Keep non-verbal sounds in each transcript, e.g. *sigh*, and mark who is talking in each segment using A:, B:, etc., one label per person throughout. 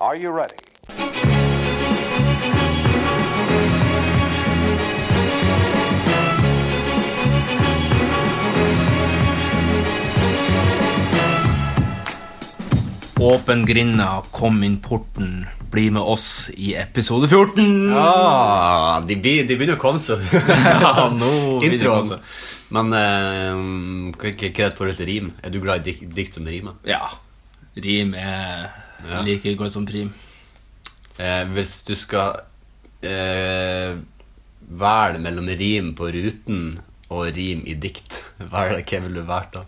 A: Are you ready?
B: Åpen grinda, kom inn porten, bli med oss i episode 14.
C: Ah, de, be- de begynner å komme seg.
B: Ja, nå begynner de å komme seg.
C: Introen. Men eh, hva hva- hva er ditt forhold til rim? Er du glad i dik dikt som rimer?
B: Ja. Rim er
C: Ja.
B: like godt som prim.
C: Eh, hvis du skal eh, velge mellom rim på ruten og rim i dikt, *laughs* hva er det- hva vil du velge da?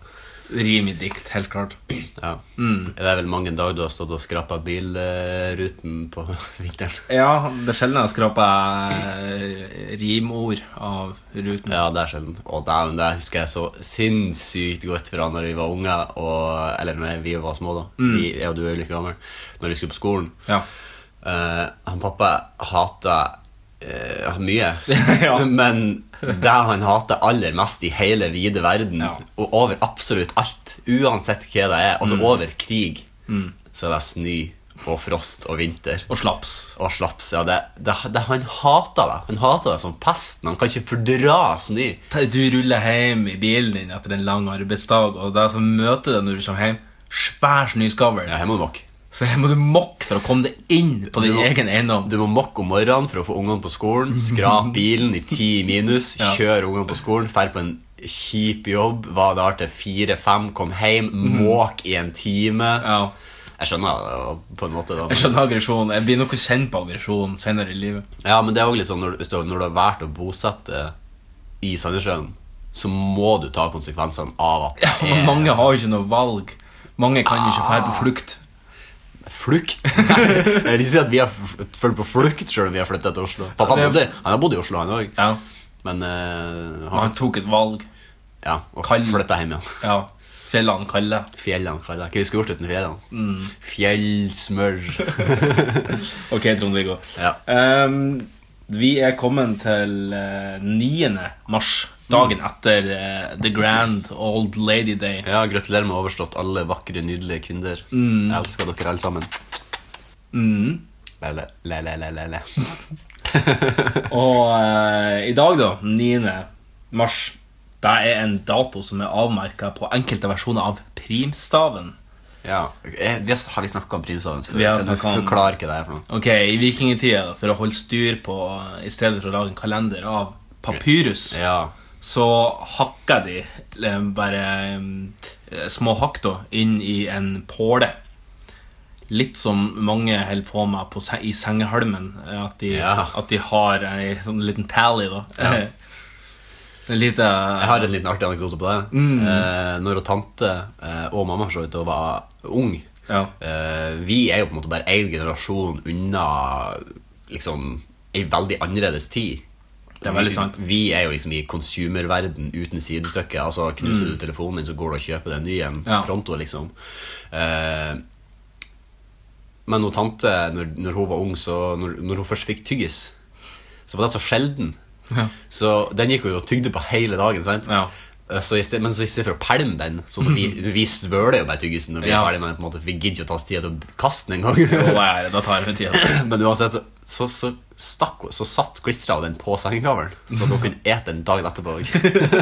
B: Rim i dikt, helt klart.
C: Ja. Det er vel mange dager du har stått og skrapa bilruten på *laughs* vinteren.
B: Ja, det er sjelden jeg skraper eh, rimord av ruten.
C: Ja, det er sjelden. Og dæven, det husker jeg så sinnssykt godt fra når vi var unge, og, eller når vi var små, da.
B: Mm.
C: Vi, jeg og du er jo like gammel. Når vi skulle på skolen.
B: Ja.
C: Eh, han pappa hata eh, mye,
B: *laughs* Ja.
C: men det han hater aller mest i hele vide verden,
B: Ja.
C: og over absolutt alt, uansett hva det er,
B: Mm.
C: altså over krig, så er det snø og frost og vinter.
B: Og slaps.
C: Og slaps, ja. Det, det, det, han hater det. Han hater det som pesten. Han kan ikke fordra snø.
B: Du ruller hjem i bilen din etter en lang arbeidsdag, og det som møter deg når du kommer hjem, svær snøskavl.
C: Ja, her må du mokke.
B: Så her må du mokke for å komme deg inn på din
C: Du må-
B: egen eiendom.
C: Du må mokke om morgenen for å få ungene på skolen. Skrap
B: *laughs*
C: bilen i ti minus.
B: Ja.
C: Kjør ungene på skolen. Fær på en kjip jobb. Var der til fire-fem. Kom hjem. Måk i en time.
B: Mhm. Ja.
C: Jeg skjønner det jo på en måte. da
B: Jeg skjønner aggresjon. Jeg blir nok å kjenne på aggresjon senere i livet.
C: Ja, men det er også litt sånn når, hvis du, når du har valgt å bosette i Sandnessjøen, så må du ta konsekvensene av at
B: Ja, Ah. og mange har jo ikke noe valg. Mange kan jo ikke dra på flukt. *laughs*
C: Flukt? Jeg vil si at vi har følt på flukt selv om vi har flyttet til Oslo. Pappa
B: Ja,
C: bodde,
B: det-
C: han har bodd i Oslo, han òg.
B: Ja,
C: Men eh,
B: og
C: han,
B: Han tok et valg.
C: ja, og
B: Kall-
C: flytta hjem igjen.
B: Ja. Fjellene kaller.
C: Fjellene, kaller jeg det. Hva vi skulle gjort uten fjellene?
B: Mm.
C: Fjellsmør.
B: *laughs* Ok, Trond-Viggo.
C: Ja.
B: Ehm, vi er kommet til eh, 9. mars, dagen etter eh, The Grand Old Lady Day.
C: ja, gratulerer med overstått alle vakre, nydelige kvinner. Jeg elsker dere alle sammen.
B: Mm.
C: Le, le, le, le, le, le.
B: Og eh, i dag, da, 9. mars, det er en dato som er avmerka på enkelte versjoner av primstaven.
C: Ja. eh, Vi har, har vi snakket om primstaven før?
B: Vi har
C: Kan du
B: snakket om-
C: Forklar hva det er for noe.
B: Ok, I vikingtida, for å holde styr på I stedet for å lage en kalender av papyrus,
C: Ja.
B: så hakka de eh, bare eh, små hakk da inn i en påle. Litt som mange holder på med på, se- i sengehalmen. eh, At de,
C: Ja.
B: at de har ei sånn liten tally, da. *laughs*
C: Ja.
B: En lite
C: Jeg har en liten artig anekdote på det.
B: Mm.
C: Eh, når og tante eh, og mamma for så vidt da var ung
B: Ja.
C: eh, Vi er jo på en måte bare én generasjon unna liksom ei veldig annerledes tid.
B: Det er veldig sant.
C: Vi, vi er jo liksom i konsumerverden uten sidestykke. Altså Knuser du telefonen din, så går du og kjøper deg en ny en
B: Mm. Ja.
C: pronto, liksom. Eh, men hun tante, når, når hun var ung, så når, når hun først fikk tyggis, så var det så sjelden.
B: Ja.
C: Så den gikk hun jo og tygde på hele dagen. sant?
B: Ja.
C: Eh, Så i sted, men så i stedet for å pælme den sånn
B: *laughs*
C: som Vi, vi svøler jo bare tyggisen når vi
B: Ja.
C: er ferdig med den. på en måte, for Vi gidder ikke å ta oss tid til å kaste den engang. *laughs*
B: Og hva er det? Da tar vi tida.
C: Men uansett så, så, så, stakk, så satt klistra den på sengekavlen, så hun kunne ete den dagen etterpå òg.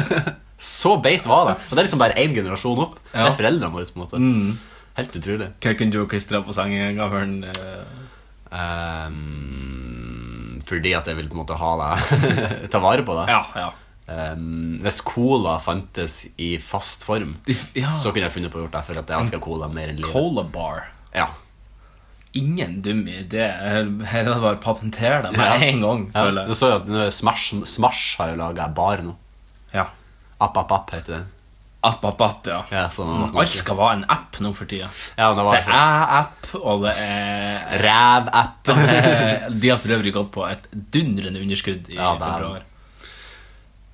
C: *laughs* så beit var det. Og det er liksom bare én generasjon opp. Det
B: Ja. Mm.
C: er foreldrene våre. på en måte Helt utrolig.
B: Hva kunne du klistra på sengegavlen? eh?
C: Ehm, fordi at jeg vil på en måte ha deg *laughs* Ta vare på deg.
B: Ja, ja.
C: Ehm, hvis cola fantes i fast form,
B: Ja.
C: så kunne jeg funnet på å gjort det. For at jeg elsker cola mer enn livet.
B: Cola bar.
C: Ja.
B: Ingen dum idé. Her er det bare å patentere det
C: Ja.
B: med en gang.
C: Ja.
B: føler
C: Du
B: jeg.
C: så jo at nå er Smash, Smash har jo laga bar nå.
B: Ja.
C: App, app, app heter det.
B: App, app, app, ja.
C: Ja, sånn, at man
B: Alt
C: ikke-
B: skal være en app nå for tida.
C: Ja, men det var
B: Mm, Det
C: altså
B: er app, og det er
C: Ræv-app.
B: Eh, De har for øvrig gått på et dundrende underskudd i
C: Ja, det er-
B: februar.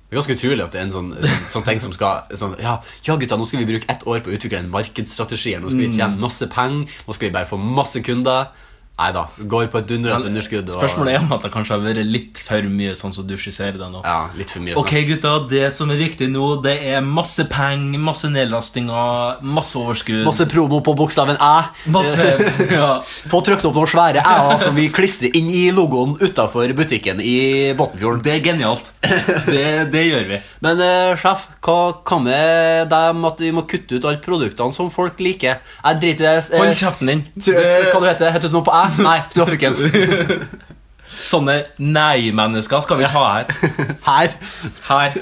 C: Det er ganske utrolig at det er en sånn, sånn, sånn ting som skal sånn, ja, ja, gutta, nå skal vi
B: Mm.
C: bruke ett år på å utvikle en markedsstrategi. her. Nå skal vi tjene masse penger. Nå skal vi bare få masse kunder. Nei da. Går på et dundrende Altså, underskudd. og-
B: Spørsmålet er om at det kanskje har vært litt for mye sånn som du skisserer det nå.
C: Ja, litt for mye
B: Ok, gutta, det som er viktig nå, det er masse penger, masse nedlastinger, masse overskudd.
C: sånn. Masse promo på bokstaven æ.
B: masse *laughs* ja.
C: Få trykt opp noen svære æ-er som vi klistrer inn i logoen utafor butikken i Botnfjorden.
B: Det er genialt. Det, det gjør vi.
C: Men eh, sjef, hva, hva med dem at vi må kutte ut alle produktene som folk liker? Jeg driter i det. eh,
B: Hold kjeften din.
C: Hva du
B: Det,
C: heter du? Heter du noe på æ? Nei, du har fikken.
B: *laughs* sånne nei-mennesker skal vi ha her.
C: Her
B: Her.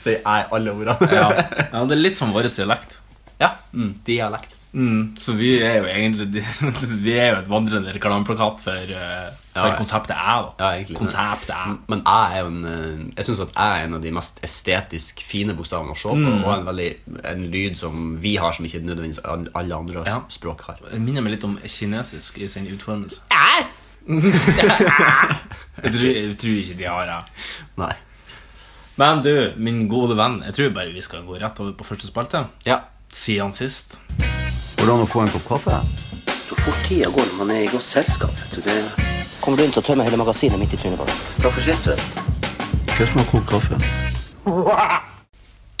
C: sier jeg alle ordene.
B: Ja, ja det er litt som vår dialekt.
C: *laughs* Ja, mm, dialekt.
B: Mm, så vi er jo egentlig de- *laughs* Vi er jo et vandrende reklameplakat for, eh, for
C: Ja.
B: konseptet æ, da.
C: Ja, egentlig.
B: Konseptet æ.
C: Men jeg er jo en eh, Jeg syns at jeg er en av de mest estetisk fine bokstavene å se på,
B: Mm.
C: og en, veldig, en lyd som vi har, som ikke nødvendigvis all- alle andre
B: Ja.
C: språk har.
B: Det minner meg litt om kinesisk i sin utformelse.
C: Æ?
B: Jeg tror, jeg tror ikke de har det.
C: Nei.
B: Men du, min gode venn, jeg tror bare vi skal gå rett over på første spalte.
C: Ja.
B: Siden sist.
C: Går det an å få en kopp kaffe?
A: Så fort tida går når man er i godt selskap. vet du, det... Kommer du inn, så tømmer jeg hele magasinet midt i trynet på deg. Takk for sist, forresten.
C: Hva som har kokt kaffe?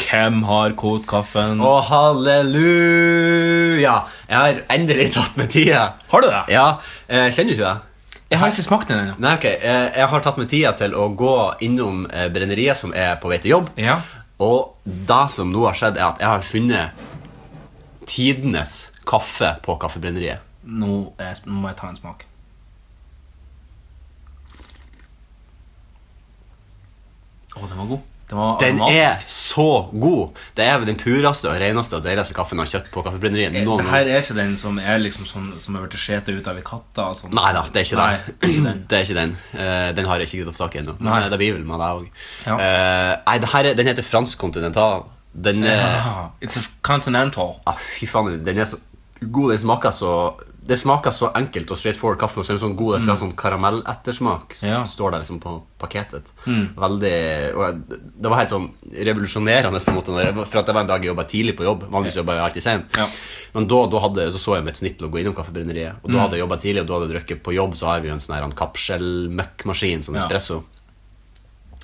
B: Hvem har kokt kaffen?
C: Å, halleluja! Jeg har endelig tatt meg tida.
B: Har du det?
C: Ja, eh, Kjenner du ikke det?
B: Jeg har ikke smakt den ennå.
C: Nei, ok. eh, Jeg har tatt meg tida til å gå innom eh, brenneriet som er på vei til jobb.
B: Ja.
C: Og det som nå har skjedd, er at jeg har funnet tidenes kaffe på kaffebrenneriet.
B: Nå eh, sp- må jeg ta en smak. Å, den var god. Den var
C: Den er
B: aromatisk.
C: så god! Det er vel den pureste og reneste og deiligste kaffen jeg har kjøpt på kaffebrenneriet noen
B: Eh, Det her
C: gang.
B: er ikke den som er liksom sånn som har blitt skjetet ut av ei katte og sånn.
C: Nei da, det er ikke
B: Nei,
C: den.
B: det er ikke den.
C: *clears throat* Det er ikke den. Eh, den har jeg ikke greid å få tak i ennå.
B: Nei.
C: Men, eh, Det blir vel med deg òg.
B: Ja.
C: nei, det her er, den heter fransk continental. Den eh, er
B: Ah, It's a continental.
C: ah, Fy faen, den er så god. Den smaker så Det smaker så enkelt og straight forward kaffe. Og så er den sånn god, det skal ha sånn karamellettersmak. som
B: Mm. Ja. Mm.
C: Står der liksom på paketet. Veldig og jeg- Det var helt sånn revolusjonerende på en måte. når jeg- For at det var en dag jeg jobba tidlig på jobb. Vanligvis jobber jeg alltid sent.
B: Ja.
C: Men da, da hadde, så så jeg med et snitt til å gå innom Kaffebrenneriet.
B: Mm.
C: Og da hadde jeg jobba tidlig, og da hadde jeg drukket på jobb, så har vi jo en sånn her en kapselmøkkmaskin, sånn
B: Ja.
C: espresso.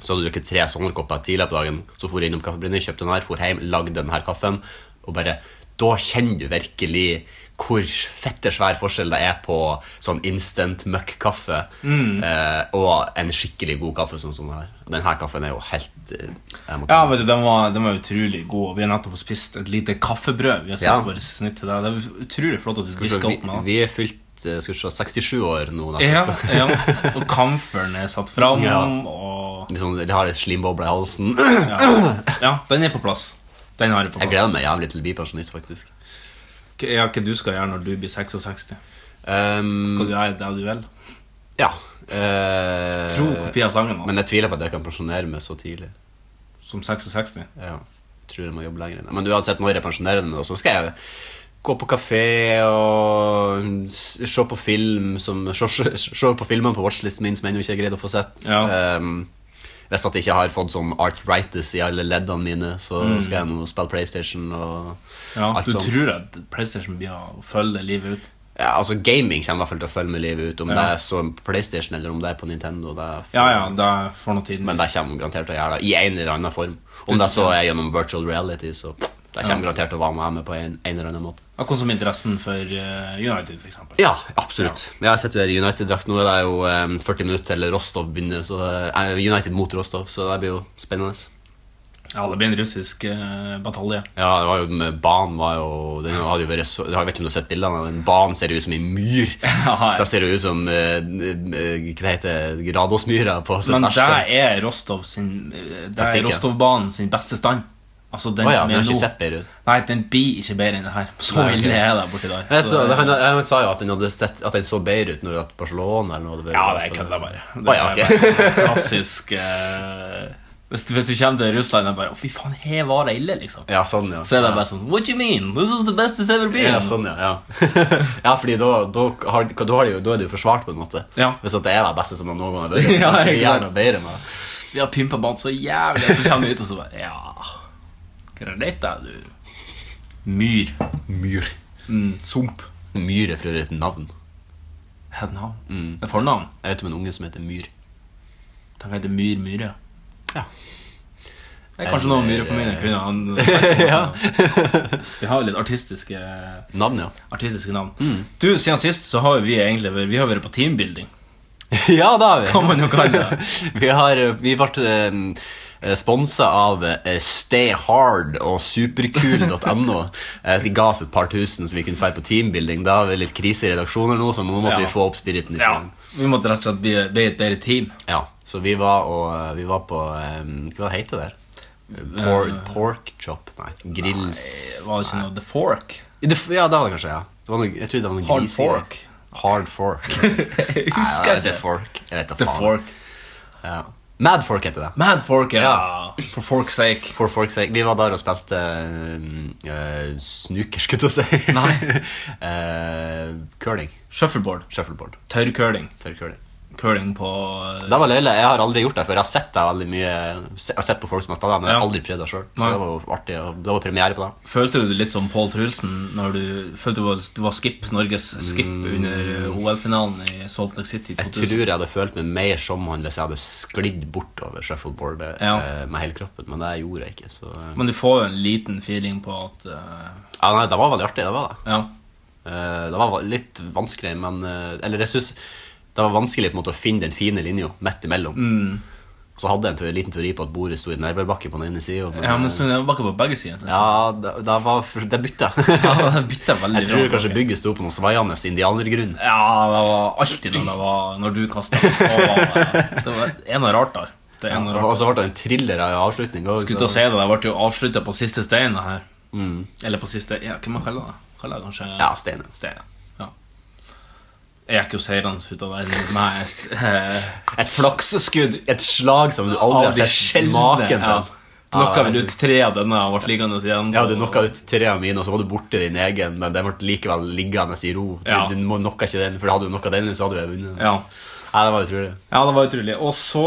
C: Så hadde jeg drukket tre sånne kopper tidligere på dagen. Så for jeg innom kaffebrenneriet, kjøpte den her, for hjem, lagde den her kaffen. Og bare Da kjenner du virkelig hvor fette svær forskjell det er på sånn instant møkk-kaffe
B: Mm.
C: eh, og en skikkelig god kaffe sånn som den her. Og den her kaffen er jo helt eh, jeg må ta
B: Ja,
C: den.
B: vet du, den var, den var utrolig god. Vi har nettopp spist et lite kaffebrød. Vi har sett
C: Ja.
B: vårt snitt til deg. Det er utrolig flott at du
C: Skal vi se,
B: skal opp med det.
C: vi, vi er fylt eh, skal vi se, 67 år nå. nettopp.
B: Ja, ja. Og kamferen er satt fram,
C: Ja.
B: og
C: Liksom, de har et slimboble i halsen.
B: Ja, den er på plass. Den har jeg på
C: Jeg
B: plass.
C: gleder meg jævlig til å bli pensjonist, faktisk.
B: Hva- Ja, hva du skal gjøre når du blir 66?
C: Um,
B: Skal du gjøre det du vil?
C: Ja. eh,
B: Tro kopi av sangen altså.
C: men jeg tviler på at jeg kan pensjonere meg så tidlig.
B: som 66.
C: Ja, jeg tror jeg må jobbe lenger enn det. Men uansett, når jeg pensjonerer meg, nå, så skal jeg gå på kafé og s- se på film som Se, se- se på filmene på watchlisten min som ennå ikke er greid å få sett.
B: Ja.
C: Um, hvis at jeg ikke har fått sånn artritis i alle leddene mine, så skal jeg nå spille PlayStation og
B: Mm. Ja,
C: alt
B: du
C: sånt.
B: tror at PlayStation blir å følge det livet ut?
C: Ja, altså Gaming kommer i hvert fall til å følge med livet ut. Om
B: Ja.
C: det er så på PlayStation eller om det er på Nintendo. Det er
B: Ja, ja, det er for noe tid.
C: Men det kommer garantert til å gjøre det i en eller annen form.
B: Du-
C: Om det så er gjennom virtual reality, så det kommer garantert til å være med meg på en, en eller annen måte.
B: Akkurat som interessen for eh, United, for eksempel.
C: Ja, absolutt. Ja. Jeg sitter jo her i United-drakt nå. Det er jo eh, 40 minutter til Rostov begynner, så det er United mot Rostov, så det blir jo spennende.
B: Ja, det blir en russisk eh,
C: *laughs*
B: batalje.
C: Ja, det var jo, med- banen var jo Den hadde jo vært så Jeg vet ikke om du har sett bildene, men banen ser jo ut som en *laughs* myr.
B: Ja, ja.
C: Det ser jo ut som eh, eh, Hva heter det? Gradåsmyra på sitt
B: Men
C: verste.
B: der er Rostov sin eh, Der er
C: Taktikken.
B: Rostovbanen sin beste stand. Altså den
C: Å ja,
B: som
C: men
B: er
C: jeg har ikke
B: nå.
C: sett bedre ut.
B: Nei, den blir ikke bedre enn det her. Så
C: Nei, ok.
B: ille er det borti der.
C: Jeg, så,
B: Så- eh,
C: han, han sa jo at den, hadde sett, at den så bedre ut når det var Barcelona eller noe. hadde vært-
B: Ja, det er kødda bare. Det
C: Å, ja, ok.
B: er bare
C: *laughs*
B: sånn klassisk eh, hvis, du- hvis du kommer til Russland og bare Å, fy faen, her var det ille, liksom.
C: Ja, sånn, ja.
B: Så er det bare sånn What do you mean? This is the best it's ever been.
C: ja, sånn, ja, *laughs* ja. ja, fordi da, da, har, da, har de, jo- da er det jo forsvart, på en måte.
B: Ja.
C: Hvis at det er det beste som
B: *laughs*
C: noen gang har vært.
B: Ja,
C: så kan vi
B: ikke sant.
C: gjerne bedre med det.
B: Vi har pimpa banen så jævlig, og så kommer vi ut og så bare Ja, greit da, du. Myr.
C: Myr.
B: Mm, sump.
C: Myr er for øvrig et navn.
B: Hedenhavn.
C: Mm.
B: Det er fornavn.
C: Jeg vet om en unge som
B: *laughs*
C: heter Myr.
B: Han heter Myr Myhre.
C: Ja.
B: Det er kanskje noe Myhre for mine kunne han *laughs* Vi har jo litt artistiske,
C: Navnet, ja.
B: artistiske navn.
C: Mm.
B: Du, Siden sist så har jo vi egentlig vært- Vi har vært på teambuilding,
C: ja, da har vi.
B: kan man jo kalle det.
C: vi, har, vi ble sponsa av eh, Stay Hard og superkul.no. Eh, De ga oss et par tusen så vi kunne dra på teambuilding. Da har vi litt krise i redaksjoner nå, så nå måtte
B: Ja.
C: vi få opp spiriten. litt.
B: Ja, Vi måtte rett og slett bli, bli et bedre team.
C: Ja, så vi var, og, eh, vi var på eh, Hva heter det der? Por
B: Eh.
C: pork chop? Nei, grills
B: Var det ikke noe The Fork?
C: Det f- Ja, det var det kanskje, ja. Det var noe, jeg trodde det var noe
B: Hard
C: gris i
B: fork.
C: det. Hard fork.
B: *laughs* Jeg
C: Nei,
B: husker
C: det er
B: ikke.
C: Fork. Jeg vet da
B: The
C: faen.
B: Fork.
C: Ja. Mad fork heter det.
B: Mad Fork, ja.
C: Ja.
B: For fork's sake.
C: For folks sake, Vi var der og spilte uh, snooker, skulle jeg til å si.
B: Nei.
C: *laughs* Eh, curling.
B: Shuffleboard.
C: Shuffleboard.
B: Tørrcurling.
C: Tørrcurling.
B: Curling på eh,
C: Det var løye. Jeg har aldri gjort det før. Jeg har sett det veldig mye Jeg har sett på folk som har spilt det, men jeg
B: Ja.
C: har aldri prøvd det sjøl. Så
B: Nei.
C: det var jo artig. og Det var premiere på det.
B: Følte du deg litt som Pål Trulsen når du følte du var, du var skip, Norges skip under eh, OL-finalen i Salt Lake City i
C: Mm. Jeg
B: 2000?
C: tror jeg hadde følt meg mer som han hvis jeg hadde sklidd bortover shuffleboardet
B: Ja.
C: eh, med hele kroppen, men det gjorde jeg ikke. Så eh.
B: Men du får jo en liten feeling på at eh,
C: ja, nei, det var veldig artig. Det var det.
B: Ja.
C: Eh, Det var va- litt vanskelig, men eh, Eller jeg synes det var vanskelig på en måte å finne den fine linja midt imellom.
B: Mm.
C: Og så hadde jeg en teori, liten teori på at bordet sto i nervebakken på den ene sida.
B: ja, men så er det bakke på begge sider. synes jeg.
C: ja, det, det var for- Det bytta.
B: *laughs* Ja,
C: *laughs*
B: det bytta veldig
C: jeg tror
B: bra.
C: kanskje bygget sto på noen svaiende indianergrunn.
B: Ja, det var alltid når, det var, når du kasta så var det- Det var en og rart der. Det er noe rart.
C: Og så ble det en thriller av avslutning. også,
B: Skulle
C: så-
B: til å si det, det ble jo avslutta på siste stein. det her Eller på siste Ja, hva man kaller det? Kaller det kanskje
C: Mm. Ja, Stein.
B: stein? Ja. Jeg gikk jo seirende ut av verden med et, eh,
C: *laughs* Et
B: flakseskudd
C: Et slag som du
B: av
C: aldri har
B: de
C: sett
B: sjeldne.
C: maken til.
B: Ja.
C: Ja.
B: Knocka vel ut tre av denne og ble liggende igjen.
C: Ja, du
B: og-
C: knocka ut tre av mine, og så var du borte din egen, men den ble likevel liggende i ro. Du,
B: Ja.
C: du må- knocka ikke den, for hadde du knocka den, så hadde du vunnet.
B: Ja.
C: Nei, det var utrolig.
B: Ja, det var utrolig. Og så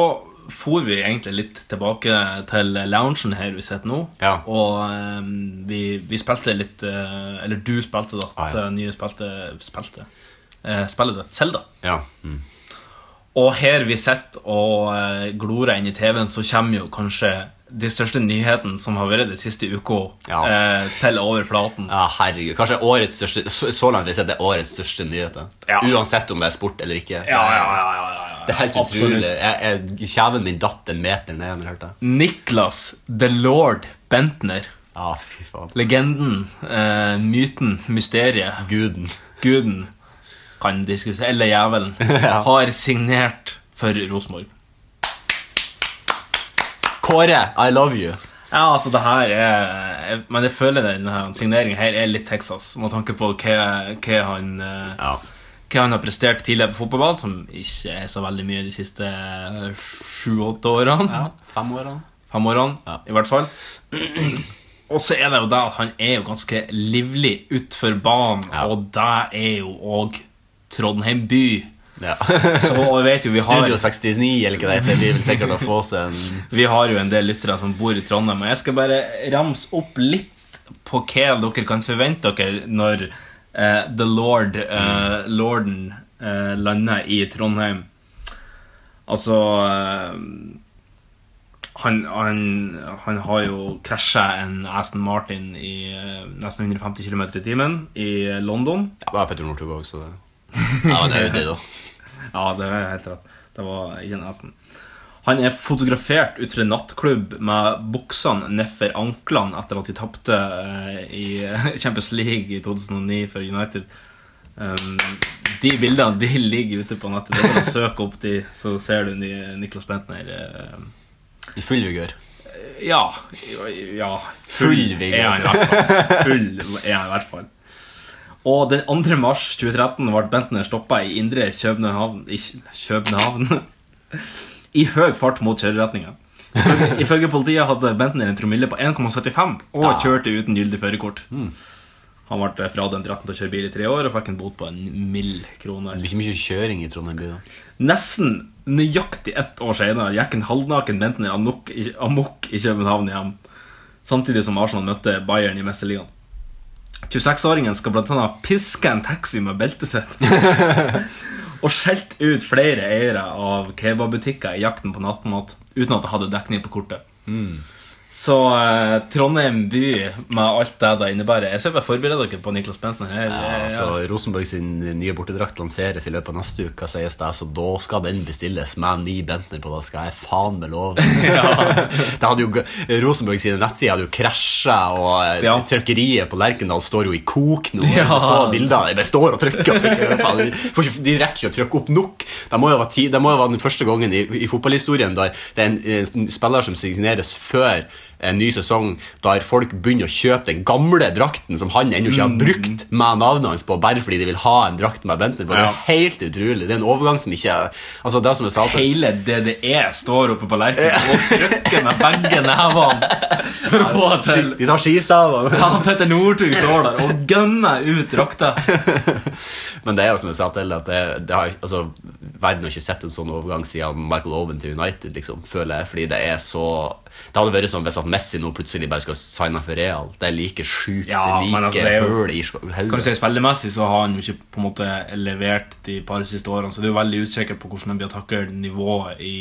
B: for vi egentlig litt tilbake til loungen her vi sitter nå.
C: Ja.
B: Og ehm, vi, vi spilte litt eh, Eller du spilte, da.
C: Ah, ja.
B: Det nye spilte, spilte. eh, spillet ditt, Selda.
C: Ja. Mm.
B: Og her vi sitter og eh, glorer inn i TV-en, så kommer jo kanskje de største nyhetene som har vært de siste uka,
C: Ja.
B: eh, til overflaten.
C: ja, herregud. Kanskje årets største Så, så langt vi ser det er årets største nyheter.
B: Ja.
C: Uansett om det er sport eller ikke.
B: ja, ja, ja.
C: Det er helt
B: Absolutt.
C: utrolig. Jeg, jeg, kjeven min datt en meter ned når jeg hørte det.
B: Niklas The Lord Bentner.
C: Ja, fy faen.
B: Legenden, eh, myten, mysteriet.
C: Guden.
B: guden kan diskutere, eller jævelen,
C: Ja.
B: har signert for Rosenborg.
C: Kåre, I love you.
B: Ja, altså, det her er jeg- Men jeg føler denne signeringen her er litt Texas, med tanke på hva, hva, han, eh,
C: Ja.
B: hva han har prestert tidligere på fotballbanen, som ikke er så veldig mye de siste eh, sju-åtte årene.
C: Fem årene.
B: Fem årene,
C: Ja.
B: i hvert fall. *clears throat* Og så er det jo det at han er jo ganske livlig utfor banen,
C: Ja.
B: og det er jo òg Trondheim by.
C: *laughs* Ja.
B: Så jeg vet jo vi har
C: Studio 69, eller hva det heter. De vil sikkert få seg en
B: *laughs* Vi har jo en del lyttere som bor i Trondheim, og jeg skal bare ramse opp litt på hva dere kan forvente dere når eh, The Lord, eh, Lorden, eh, lander i Trondheim. Altså eh, han, han, han har jo krasja en Aston Martin i eh, nesten 150 km i timen i London.
C: Ja, da er Petter Northug òg, så det Ja, men det er jo det, da.
B: Ja, det er helt rett. Det var ikke nesen. Han er fotografert ut fra en nattklubb med buksene nedfor anklene etter at de tapte eh, i *laughs* Champions League i 2009 for United. Um, de bildene de ligger ute på nettet. Det er bare å søke opp de, så ser du Ni- Niklas Bentner. eh,
C: I full vigør.
B: ja. ja
C: Full vigør.
B: er han i hvert fall. Full er han i hvert fall. Og den 2. mars 2013 ble Bentner stoppa i indre København I Kj- København *laughs* I høy fart mot kjøreretninga. Ifølge- Ifølge politiet hadde Bentner en promille på 1,75 og
C: Da. Mm.
B: kjørte uten gyldig førerkort. Han ble fradømt retten til å kjøre bil i tre år og fikk en bot på en mild krone.
C: Mye, mye kjøring i Trondheim by, da.
B: Nesten nøyaktig ett år senere gikk en halvnaken Bentner amok, amok i København hjem, samtidig som Arsenal møtte Bayern i Mesterligaen.
C: *laughs*
B: 26-åringen skal blant annet piske en taxi med beltet sitt. og skjelt ut flere eiere av kebabbutikker i jakten på nattmat uten at jeg hadde dekning på kortet.
C: Mm.
B: Så eh, Trondheim by med alt det det innebærer Jeg ser bare forbereder dere på Niklas Bentner her.
C: Ja, altså, Rosenborg sin nye bortedrakt lanseres i løpet av neste uke, sies det, så da skal den bestilles med ni Bentner på. Da skal jeg faen meg
B: *laughs*
C: love. Det hadde jo, g- Rosenborg sine nettsider hadde jo krasja, og eh,
B: Ja.
C: trykkeriet på Lerkendal står jo i kok nå.
B: Ja.
C: Jeg så bilder, de bare står og trykker. og trykker. Faen, de får ikke- De rekker ikke å trykke opp nok. Det må jo være, ti, det må jo være den første gangen i, i fotballhistorien der det er en, en spiller som signeres før en ny sesong, der folk begynner å kjøpe den gamle drakten som han ennå ikke har brukt med navnet hans på, bare fordi de vil ha en drakt med Bentner på. Det
B: Ja.
C: er helt utrolig. Det er en overgang som ikke er- Altså, det som jeg sa til
B: Hele DDE står oppe på Lerkendal og trykker med begge nevene for å få det til.
C: De tar skistavene.
B: Ja, Petter Northug står der og gønner ut drakta.
C: Men det er jo som jeg sa til at det, det har, altså, Verden har ikke sett en sånn overgang siden Michael Owen til United, liksom, føler jeg. Fordi det er så Det hadde vært som hvis at Messi nå plutselig bare skal signe for Real. Det er like sjukt,
B: Ja,
C: det
B: men
C: er
B: altså,
C: like
B: det er jo-
C: høl i
B: Kan du si
C: hodet.
B: Spillemessig så har han jo ikke på en måte levert de par siste årene, så det er jo veldig usikkert på hvordan han blir taklet nivået i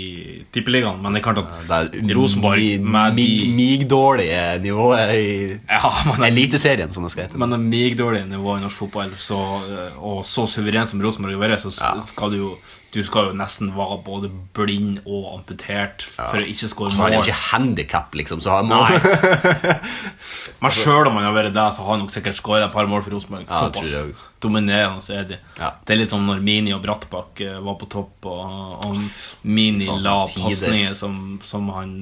B: Tippeligaen. Men det er klart
C: Det
B: at
C: er
B: Rosenborg
C: mi-
B: med de
C: mi- migdårlige nivået i
B: Ja, men det-
C: Eliteserien, som det skal hete.
B: men det migdårlige nivået i norsk fotball, så, eh, og så suveren som Rosenborg har vært, så skal du jo Du skal jo nesten være både blind og amputert for å ikke skåre
C: Han er jo
B: mål.
C: ikke handikap, liksom, så han må
B: Nei. Men sjøl om han har vært det, så har han nok sikkert skåra et par mål for Rosenborg.
C: Ja, det tror jeg
B: Såpass
C: også.
B: dominerende er de.
C: Ja.
B: Det er litt som når Mini og Brattbakk eh, var på topp, og, og Mini
C: Faen,
B: la
C: tider.
B: pasninger som, som han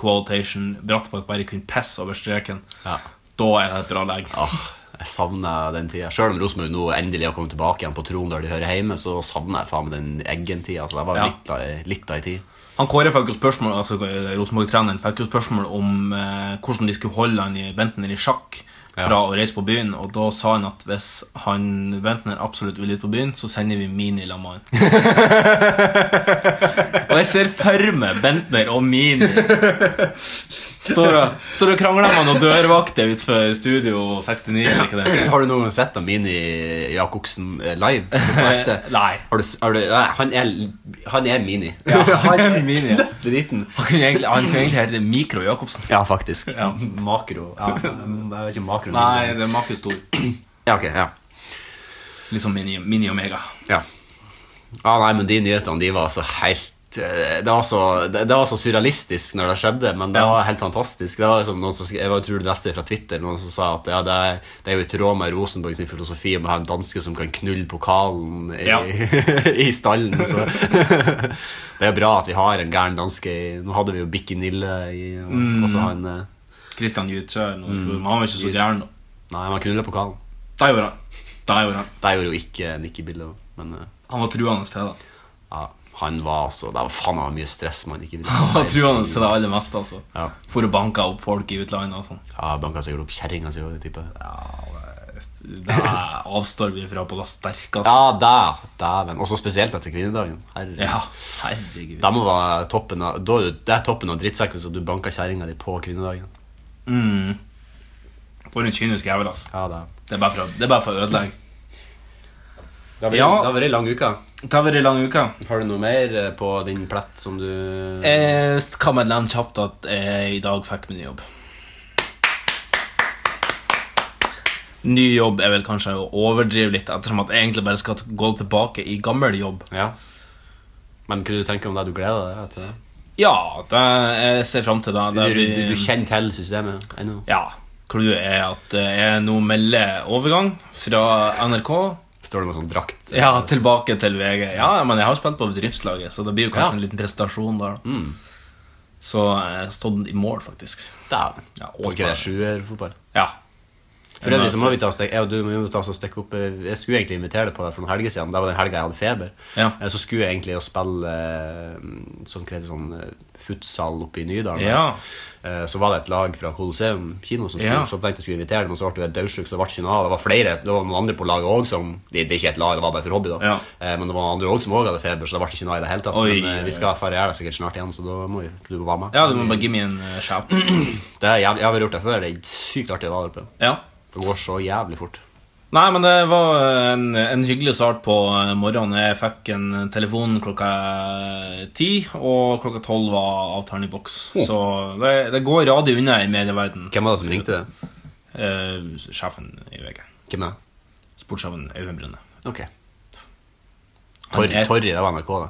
B: quotation Brattbakk bare kunne pisse over streken.
C: Ja.
B: Da er det et bra legg.
C: *laughs* Åh, jeg savner den tida. Sjøl om Rosenborg nå endelig har kommet tilbake igjen på tronen der de hører hjemme, så savner jeg faen meg den Eggen-tida. Altså, det var
B: Ja.
C: litt av- litt av ei tid.
B: Han Kåre fikk jo spørsmål altså eh, Rosenborg-treneren fikk jo spørsmål om eh, hvordan de skulle holde han i Bentner i sjakk fra å reise på byen. Og da sa han at hvis han Bentner absolutt vil ut på byen, så sender vi Mini sammen *laughs* med han. og jeg ser for meg Bentner og Mini står og, står og krangler med noen dørvakter utenfor Studio 69. Eller hva det er.
C: *laughs* Har du noen gang sett han Mini Jacobsen eh, live? Som
B: *laughs*
C: på ekte?
B: Nei.
C: Har du, s- har du, nei han, er, han er Mini. *laughs*
B: Ja, han er Mini, ja.
C: Driten.
B: Han kunne egentlig, han kunne egentlig hete Mikro Jacobsen.
C: Ja, faktisk.
B: Ja.
C: Makro. Ja, jeg vet ikke makro.
B: Nei, det er Markus Stor.
C: Ja, ok, ja.
B: Litt som Mini, Mini Omega.
C: Ja. Ah, nei, men de nyhetene, de var altså helt eh, det var, så, det, det var så surrealistisk når det skjedde, men det
B: Ja.
C: var helt fantastisk. Det var liksom noen som, sk- jeg var, tror du leste det fra Twitter, noen som sa at ja, det, er, det er jo i tråd med Rosenborg sin filosofi om å ha en danske som kan knulle pokalen i,
B: Ja.
C: *laughs* i stallen. Så *laughs* det er bra at vi har en gæren danske. i- Nå hadde vi jo Bikki Nille i og,
B: Mm.
C: også han eh,
B: Christian Jutsjø mm. Han var ikke så gæren.
C: Nei, han knuller pokalen.
B: Da gjorde han. Da gjorde han.
C: Det gjorde jo ikke Nikki Bille, men eh,
B: Han var truende til det. *laughs*
C: ja, han var altså Det var faen han var mye stress man
B: *laughs*
C: ikke ville
B: Han var truende til det aller meste. altså.
C: Ja.
B: For å banke opp folk i utlandet og sånn.
C: Ja, banka sikkert opp kjerringa si òg, tipper jeg.
B: Det avstår vi fra på det sterkeste.
C: Ja, der, dæven. Også spesielt etter kvinnedagen. Herregud.
B: Ja, herregud.
C: Da må være toppen av, da, er du- det er toppen av drittsekken så du banka kjerringa di på kvinnedagen.
B: Mm. For en kynisk jævel, altså.
C: Ja, det er.
B: Det er bare for å, det er bare for å ødelegge.
C: Det har vært-
B: Ja.
C: det har vært ei lang uke.
B: Det har vært en lang uke.
C: Har du noe mer eh, på din plett som du
B: Jeg Eh, kan bare nevne kjapt at jeg i dag fikk meg ny jobb. Ny jobb er vel kanskje å overdrive litt, ettersom at jeg egentlig bare skal gå tilbake i gammel jobb.
C: Ja. Men hva du tenker om det? Du gleder deg til det?
B: Ja, det, jeg ser fram til det.
C: Du,
B: det
C: du,
B: blir-
C: du kjenner til systemet ennå?
B: Ja. Clouet er at eh, jeg nå melder overgang fra NRK
C: Står det med sånn drakt?
B: ja, tilbake til VG. Ja, men jeg har spilt på bedriftslaget, så det blir jo kanskje
C: Ja.
B: en liten prestasjon der. da.
C: Mm.
B: Så jeg har stått i mål, faktisk.
C: Dæven.
B: Ja, og
C: Og ikke det er sjuerfotball?
B: Ja.
C: For øvrig så må vi ta og stek- jeg og du må jo ta oss og stikke opp eh, Jeg skulle egentlig invitere deg på det for noen helger siden. Det var den helga jeg hadde feber.
B: Ja.
C: Eh, Så skulle jeg egentlig å spille eh, sånn, hva heter det, sånn eh, futsal oppe i Nydalen.
B: Ja.
C: Eh, Så var det et lag fra Colosseum kino som skulle,
B: Ja.
C: så tenkte jeg skulle invitere dem, og så ble du helt daudsjuk, så det ble ikke noe av. Det var flere, det var noen andre på laget òg som det, det er ikke et lag, det var bare for hobby, da.
B: Ja.
C: Eh, Men det var noen andre også som òg hadde feber, så det ble ikke noe i det hele tatt.
B: Oi,
C: Men eh,
B: oi,
C: vi skal feriere sikkert snart igjen, så da må vi, du må være med.
B: Ja, du må bare gi meg en eh, shout. *clears throat*
C: Det er jævlig, jeg har gjort det før. Det er sykt artig å være der oppe.
B: Ja.
C: Det går så jævlig fort.
B: Nei, men det var eh, en, en hyggelig start på eh, morgenen. Jeg fikk en eh, telefon klokka eh, ti, og klokka tolv var avtalen i boks. Så det, det går radig unna i medieverden.
C: Oh. Hvem var det som ringte det?
B: Eh, sjefen i VG.
C: Hvem er det?
B: Sportssjefen Øyvind Brune.
C: Ok. Tor
B: er-
C: Torry, det var NRK, da.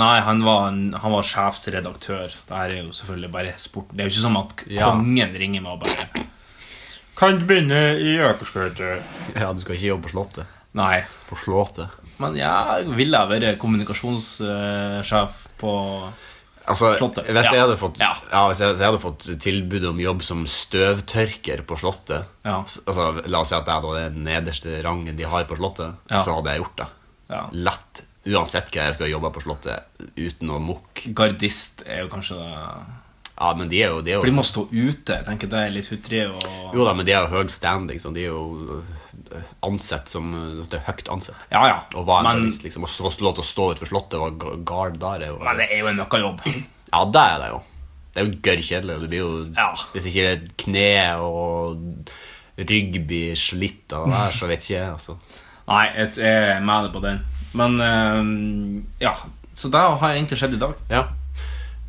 B: Nei, han var, en, han var sjefsredaktør. Det her er jo selvfølgelig bare sport. Det er jo ikke som at k-
C: Ja.
B: kongen ringer meg og bare Kan du begynne i Økerskøyter?
C: *laughs* Ja, du skal ikke jobbe på Slottet.
B: Nei.
C: På Slottet.
B: Men ja, ville jeg vært kommunikasjonssjef på
C: Altså,
B: Slottet.
C: Hvis, jeg
B: Ja.
C: hadde fått, ja.
B: Ja.
C: hvis, jeg, hvis jeg hadde fått tilbud om jobb som støvtørker på Slottet
B: Ja.
C: s- altså, La oss si at jeg da er den nederste rangen de har på Slottet,
B: Ja.
C: så hadde jeg gjort det.
B: ja.
C: Lett. Uansett hva jeg skulle ha jobba på Slottet uten å mukke.
B: Gardist er jo kanskje det
C: Ja, men de er jo, de er
B: For de
C: jo
B: må stå ute. Jeg tenker det er litt hutrig og
C: Jo da, men de har jo høy standing, så de er jo øh, ansett som øh, Det er høyt ansett.
B: Ja, ja.
C: Og hva en
B: men,
C: journalist, liksom. Og så få lov til å stå utenfor Slottet og være guard der er jo
B: men det er jo en
C: *clears throat*
B: møkkajobb.
C: Ja, det er det jo. Det er jo gørr kjedelig. og Det blir jo
B: Ja.
C: Hvis ikke det er kne og rygg blir slitt av det der, så vet ikke jeg, altså.
B: Nei, jeg jeg er med deg på den. Men eh, ja. Så det har egentlig skjedd i dag.
C: Ja.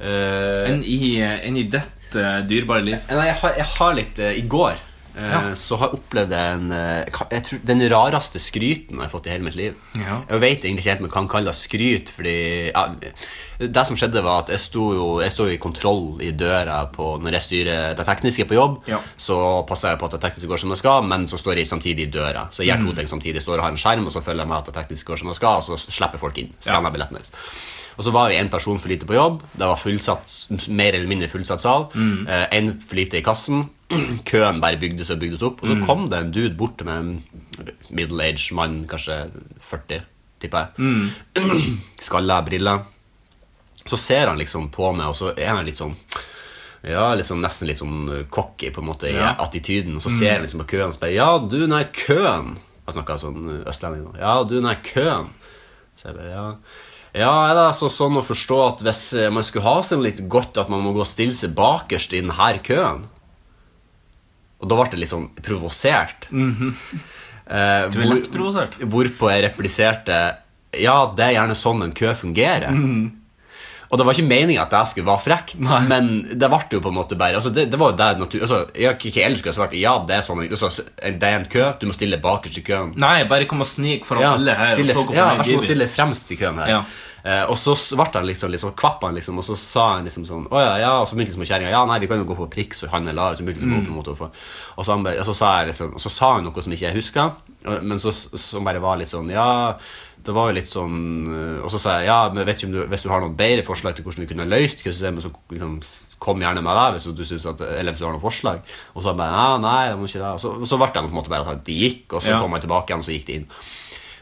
C: Eh,
B: Enn i, enn i dette dyrebare liv.
C: nei, jeg har, jeg har litt eh, I går eh,
B: Ja.
C: så har jeg opplevd en eh, ka- jeg tror, Den rareste skryten jeg har fått i hele mitt liv.
B: Ja.
C: Jeg vet egentlig ikke helt om jeg kan kalle det skryt, fordi ja, Det som skjedde, var at jeg sto jo jeg sto jo i kontroll i døra på, når jeg styrer det tekniske på jobb.
B: Ja.
C: Så passer jeg på at det tekniske går som det skal, men så står jeg samtidig i døra. Så jeg gjør to ting samtidig. Jeg Står og har en skjerm, og så følger jeg med at det tekniske går som det skal, og så slipper folk inn. Skanner billetten deres. Og så var jo én person for lite på jobb. Det var fullsatt, mer eller mindre fullsatt sal. Én for lite i kassen. *clears throat* Køen bare bygde seg og bygde seg opp. Og så kom det en dude bort til meg, en middle-aged mann, kanskje 40, tipper jeg. Skalla, briller. Så ser han liksom på meg, og så er han litt sånn ja, litt sånn, nesten litt sånn uh, cocky på en måte i
B: Ja.
C: attityden. Og så ser han liksom på køen og spør Ja, du, den her køen Jeg snakker sånn uh, østlending nå. Ja, du, den her køen Så jeg bare, ja ja, er det altså sånn å forstå at hvis eh, man skulle ha seg litt godt, at man må gå og stille seg bakerst i denne køen? Og da ble det litt sånn provosert. *laughs* Eh,
B: Mhm. Du er
C: hvor-
B: lett provosert.
C: Hvorpå jeg repliserte Ja, det er gjerne sånn en kø fungerer. Og det var ikke meninga at jeg skulle være frekt,
B: Mhm. Nei.
C: men det ble jo på en måte bare altså det, det var jo der natur, altså, jeg, Ikke ellers skulle jeg svart ja, det er sånn altså, Det er en kø, du må stille bakerst i køen.
B: Nei, bare kom og snik foran alle her.
C: stille,
B: og så gå
C: ja,
B: forbi
C: vær så god,
B: Bibi.
C: stille fremst i køen her.
B: Ja.
C: Eh, og så s- ble han liksom, liksom kvapp han liksom, og så sa han liksom sånn Å ja, ja, og så begynte liksom kjerringa Ja, nei, vi kan jo gå på priks for han eller Lars. Så begynte liksom å gå opp imot henne. Og så, han bare, og så sa jeg liksom Og så sa han noe som ikke jeg huska, men så, som bare var litt sånn Ja, det var jo litt sånn eh, Og så sa jeg ja, men vet ikke om du, hvis du har noen bedre forslag til hvordan vi kunne løst kryssesystemet, så liksom, s- kom gjerne med det hvis du synes at Eller hvis du har noen forslag. Og så han bare Ja, nei, det må ikke det. Og så, og så ble det på en måte bare at de gikk, og så
B: Ja.
C: kom jeg tilbake igjen, og så gikk de inn.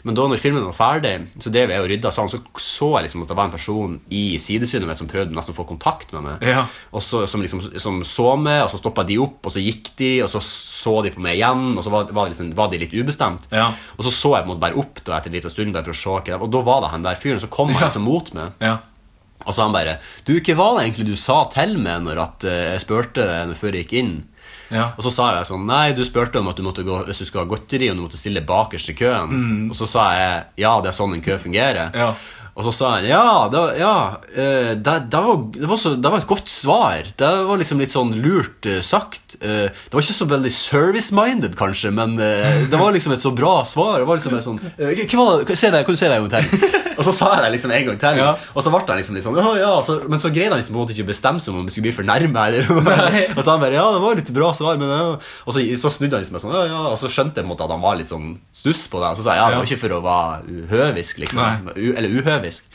C: Men da når filmen var ferdig, så drev jeg og rydda salen, så så jeg liksom at det var en person i sidesynet mitt som prøvde nesten å få kontakt med meg.
B: Ja.
C: Og så, som, liksom, som så meg, og så stoppa de opp, og så gikk de, og så så de på meg igjen, og så var, var, det liksom, var de litt ubestemt.
B: Ja.
C: Og så så jeg på en måte bare opp da, etter en liten stund, bare for å se hva det var, og da var det han der fyren, så kom han liksom mot meg.
B: Ja.
C: Og så han bare Du, hva var det egentlig du sa til meg når at eh, jeg spurte deg før jeg gikk inn?
B: Ja.
C: Og så sa jeg sånn Nei, du spurte om at du måtte gå hvis du skulle ha godteri, og du måtte stille bakerst i køen. Og så sa jeg ja, det er sånn en kø fungerer.
B: Mm. Ja.
C: Og så sa han ja, det, var- ja eh, det, det, var, det, var så, det var et godt svar. Det var liksom litt sånn lurt eh, sagt. Eh, det var ikke så veldig service-minded, kanskje, men eh, det var liksom et så bra svar. Det var liksom et sånn eh, hva, var det- Se det, kan du si det en gang til?
B: *laughs*
C: Og så sa jeg det liksom en gang til,
B: Ja.
C: og så ble han liksom litt sånn «Å, ja, så, Men så greide han liksom på en måte ikke å bestemme seg om han skulle bli fornærma. og så han bare Ja, det var litt bra svar, men ja. Og så, så snudde han liksom sånn Ja, ja. Og så skjønte jeg på en måte at han var litt sånn stuss på det. Og så sa jeg ja, det var ikke for å være uhøvisk, liksom.
B: Nei.
C: U eller uhøvisk.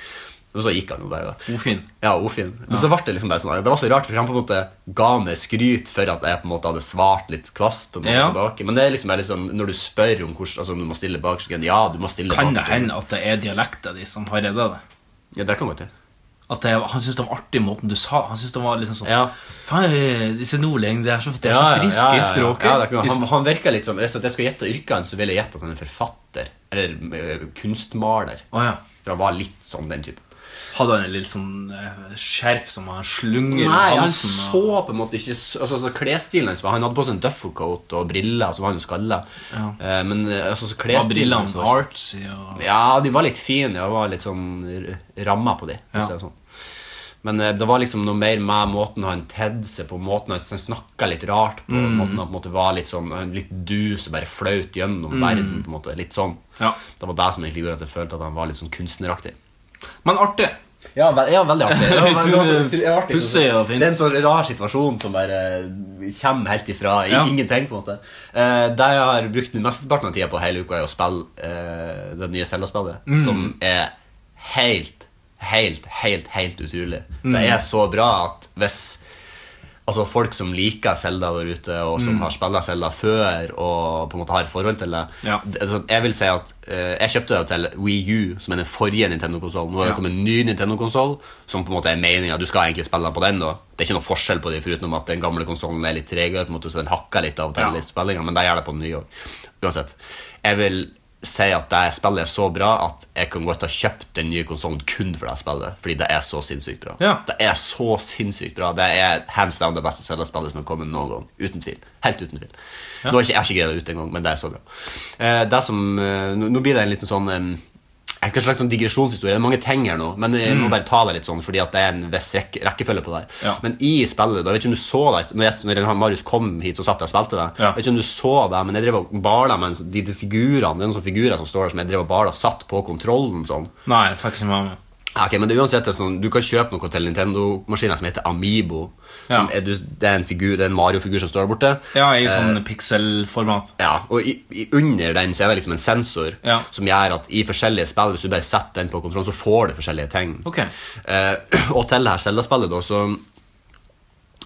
C: Og så gikk han jo bare. da.
B: Ofin.
C: Ja, ofin. Men så ble det liksom bare sånn Det var så rart, for han på en måte ga meg skryt for at jeg på en måte hadde svart litt kvast. på en måte
B: Ja.
C: tilbake Men det er liksom bare litt sånn når du spør om hvordan Altså om du må stille bak skyggen Ja, du må stille
B: Kan
C: bak
B: det
C: skyggen.
B: hende at det er dialekten din som har redda deg?
C: Ja, det kan godt hende.
B: At det, han syntes det var artig måten du sa Han syntes det var liksom sånn
C: Ja.
B: Faen, disse nordlendingene, de er så, de er så friske i språket.
C: Ja, det kan,
B: De-
C: han, han virker litt som Hvis at jeg skulle gjette yrket hans, så ville jeg gjette at han er forfatter. Eller eh, kunstmaler.
B: Å, ja.
C: For han var litt sånn den typen.
B: Hadde han en litt sånn eh, skjerf som han slunger
C: Nei,
B: i
C: han
B: halsen? og-
C: så på en måte ikke s- altså, så Klesstilen hans var- Han hadde på seg en duffelcoat og briller, og så var han jo skalla.
B: Ja.
C: Eh, men eh, altså, så
B: Var
C: klesstilen
B: brillene
C: hans var-
B: artsy? Og...
C: Ja, de var litt fine. Jeg var litt sånn r- ramma på de. for å
B: Ja.
C: si det Sånn. Men eh, det var liksom noe mer med måten han tedde seg på, måten han snakka litt rart på.
B: Mm.
C: Måten han på en måte var litt sånn eh, Litt dus og bare flaut gjennom verden. på en måte, Litt sånn.
B: Mm. Ja.
C: Det var det som egentlig gjorde at jeg følte at han var litt sånn kunstneraktig.
B: Men artig.
C: Ja, ve ja veldig artig. Det var- det var så-
B: Utrolig
C: det var artig,
B: pussig
C: sånn-
B: og fint.
C: Det er en sånn rar situasjon som bare eh, kommer helt ifra i-
B: Ja.
C: ingenting. på en måte Eh, Det jeg har brukt den mesteparten av tida på hele uka, er å spille eh, det nye Zelda-spillet. Som er helt, helt, helt helt utrolig. Det er så bra at hvis Altså Folk som liker Zelda der ute, og som har spilt Zelda før og på en måte har et forhold til det
B: Ja.
C: det- altså, Jeg vil si at eh, Jeg kjøpte det til Wii U, som er den forrige Nintendo-konsollen. Nå har
B: Ja.
C: det kommet en ny Nintendo-konsoll, som på en måte er meningen Du skal egentlig spille på den. da Det er ikke noe forskjell på dem, foruten at den gamle konsollen er litt tregere, på en måte, så den hakker litt av og til
B: Ja.
C: i spillingen, men det gjør det på den nye også. Uansett. Jeg vil si at det spillet er så bra at jeg kan godt ha kjøpt den nye konsollen kun for det spillet, fordi det er så sinnssykt bra.
B: Ja.
C: Det er så sinnssykt bra. Det er hands down det beste Zelda-spillet som har kommet noen gang. Uten tvil. Helt uten tvil. Nå har ikke, jeg har ikke greid det ut engang, men det er så bra. Eh, det som, eh, nå, nå blir det en liten sånn eh, jeg vet ikke en slags sånn digresjonshistorie, Det er mange ting her nå, men jeg må bare ta det litt sånn, fordi at det er en viss rekk- rekkefølge på det. her.
B: Mm. Ja.
C: Men i spillet, da, jeg vet ikke om du så det, når, jeg, når han Marius kom hit, så satt jeg og spilte det.
B: Ja.
C: Jeg vet ikke om du så det, men jeg drev og bala med en sånn- de, de figurene, det er noen sånne figurer som står der, som jeg drev og bala og satt på kontrollen sånn.
B: Nei, jeg fikk ikke med meg.
C: Ja, Ah, Ok, men det er uansett en sånn, Du kan kjøpe noe til Nintendo-maskiner som heter Amiibo. Som
B: Ja.
C: er, du- det er en, figur- det er en Mario-figur som står der borte.
B: Ja, i sånn
C: Eh.
B: pixel-format.
C: Ja, og i, i, under den så er det liksom en sensor
B: Ja.
C: som gjør at i forskjellige spill, hvis du bare setter den på kontrollen, så får du forskjellige ting.
B: Ok.
C: Eh, *clears throat* og til det her Zelda-spillet, da, så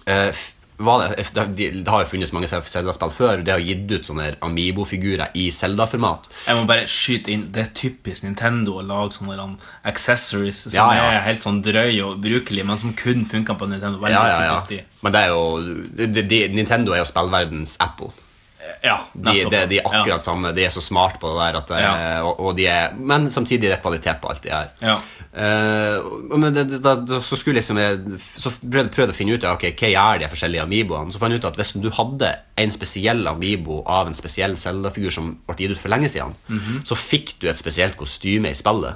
C: eh, f- var det, f- det, de- det har jo funnes mange Zelda-spill før. Det har gitt ut sånne her Amiibo-figurer i Zelda-format.
B: Jeg må bare skyte inn Det er typisk Nintendo å lage sånne der, um, accessories som
C: Ja, ja.
B: er helt sånn drøy og ubrukelig, men som kun funker på Nintendo. Veldig
C: Ja, ja,
B: typisk
C: ja.
B: de.
C: Men det er jo de, de, Nintendo er jo spillverdens Apple.
B: Ja,
C: De,
B: nettopp.
C: de, de er akkurat
B: Ja.
C: samme. De er så smart på det der. At det,
B: Ja.
C: og, og de er, men samtidig er det kvalitet på alt de gjør.
B: Ja.
C: Eh, og- men det, det- da, da, så skulle liksom jeg, Så prøvde, prøvde å finne ut ja, ok, hva gjør de forskjellige amiiboene. Så fant jeg ut at hvis du hadde en spesiell amiibo av en spesiell Zelda-figur som ble gitt ut for lenge siden,
B: Mhm.
C: så fikk du et spesielt kostyme i spillet.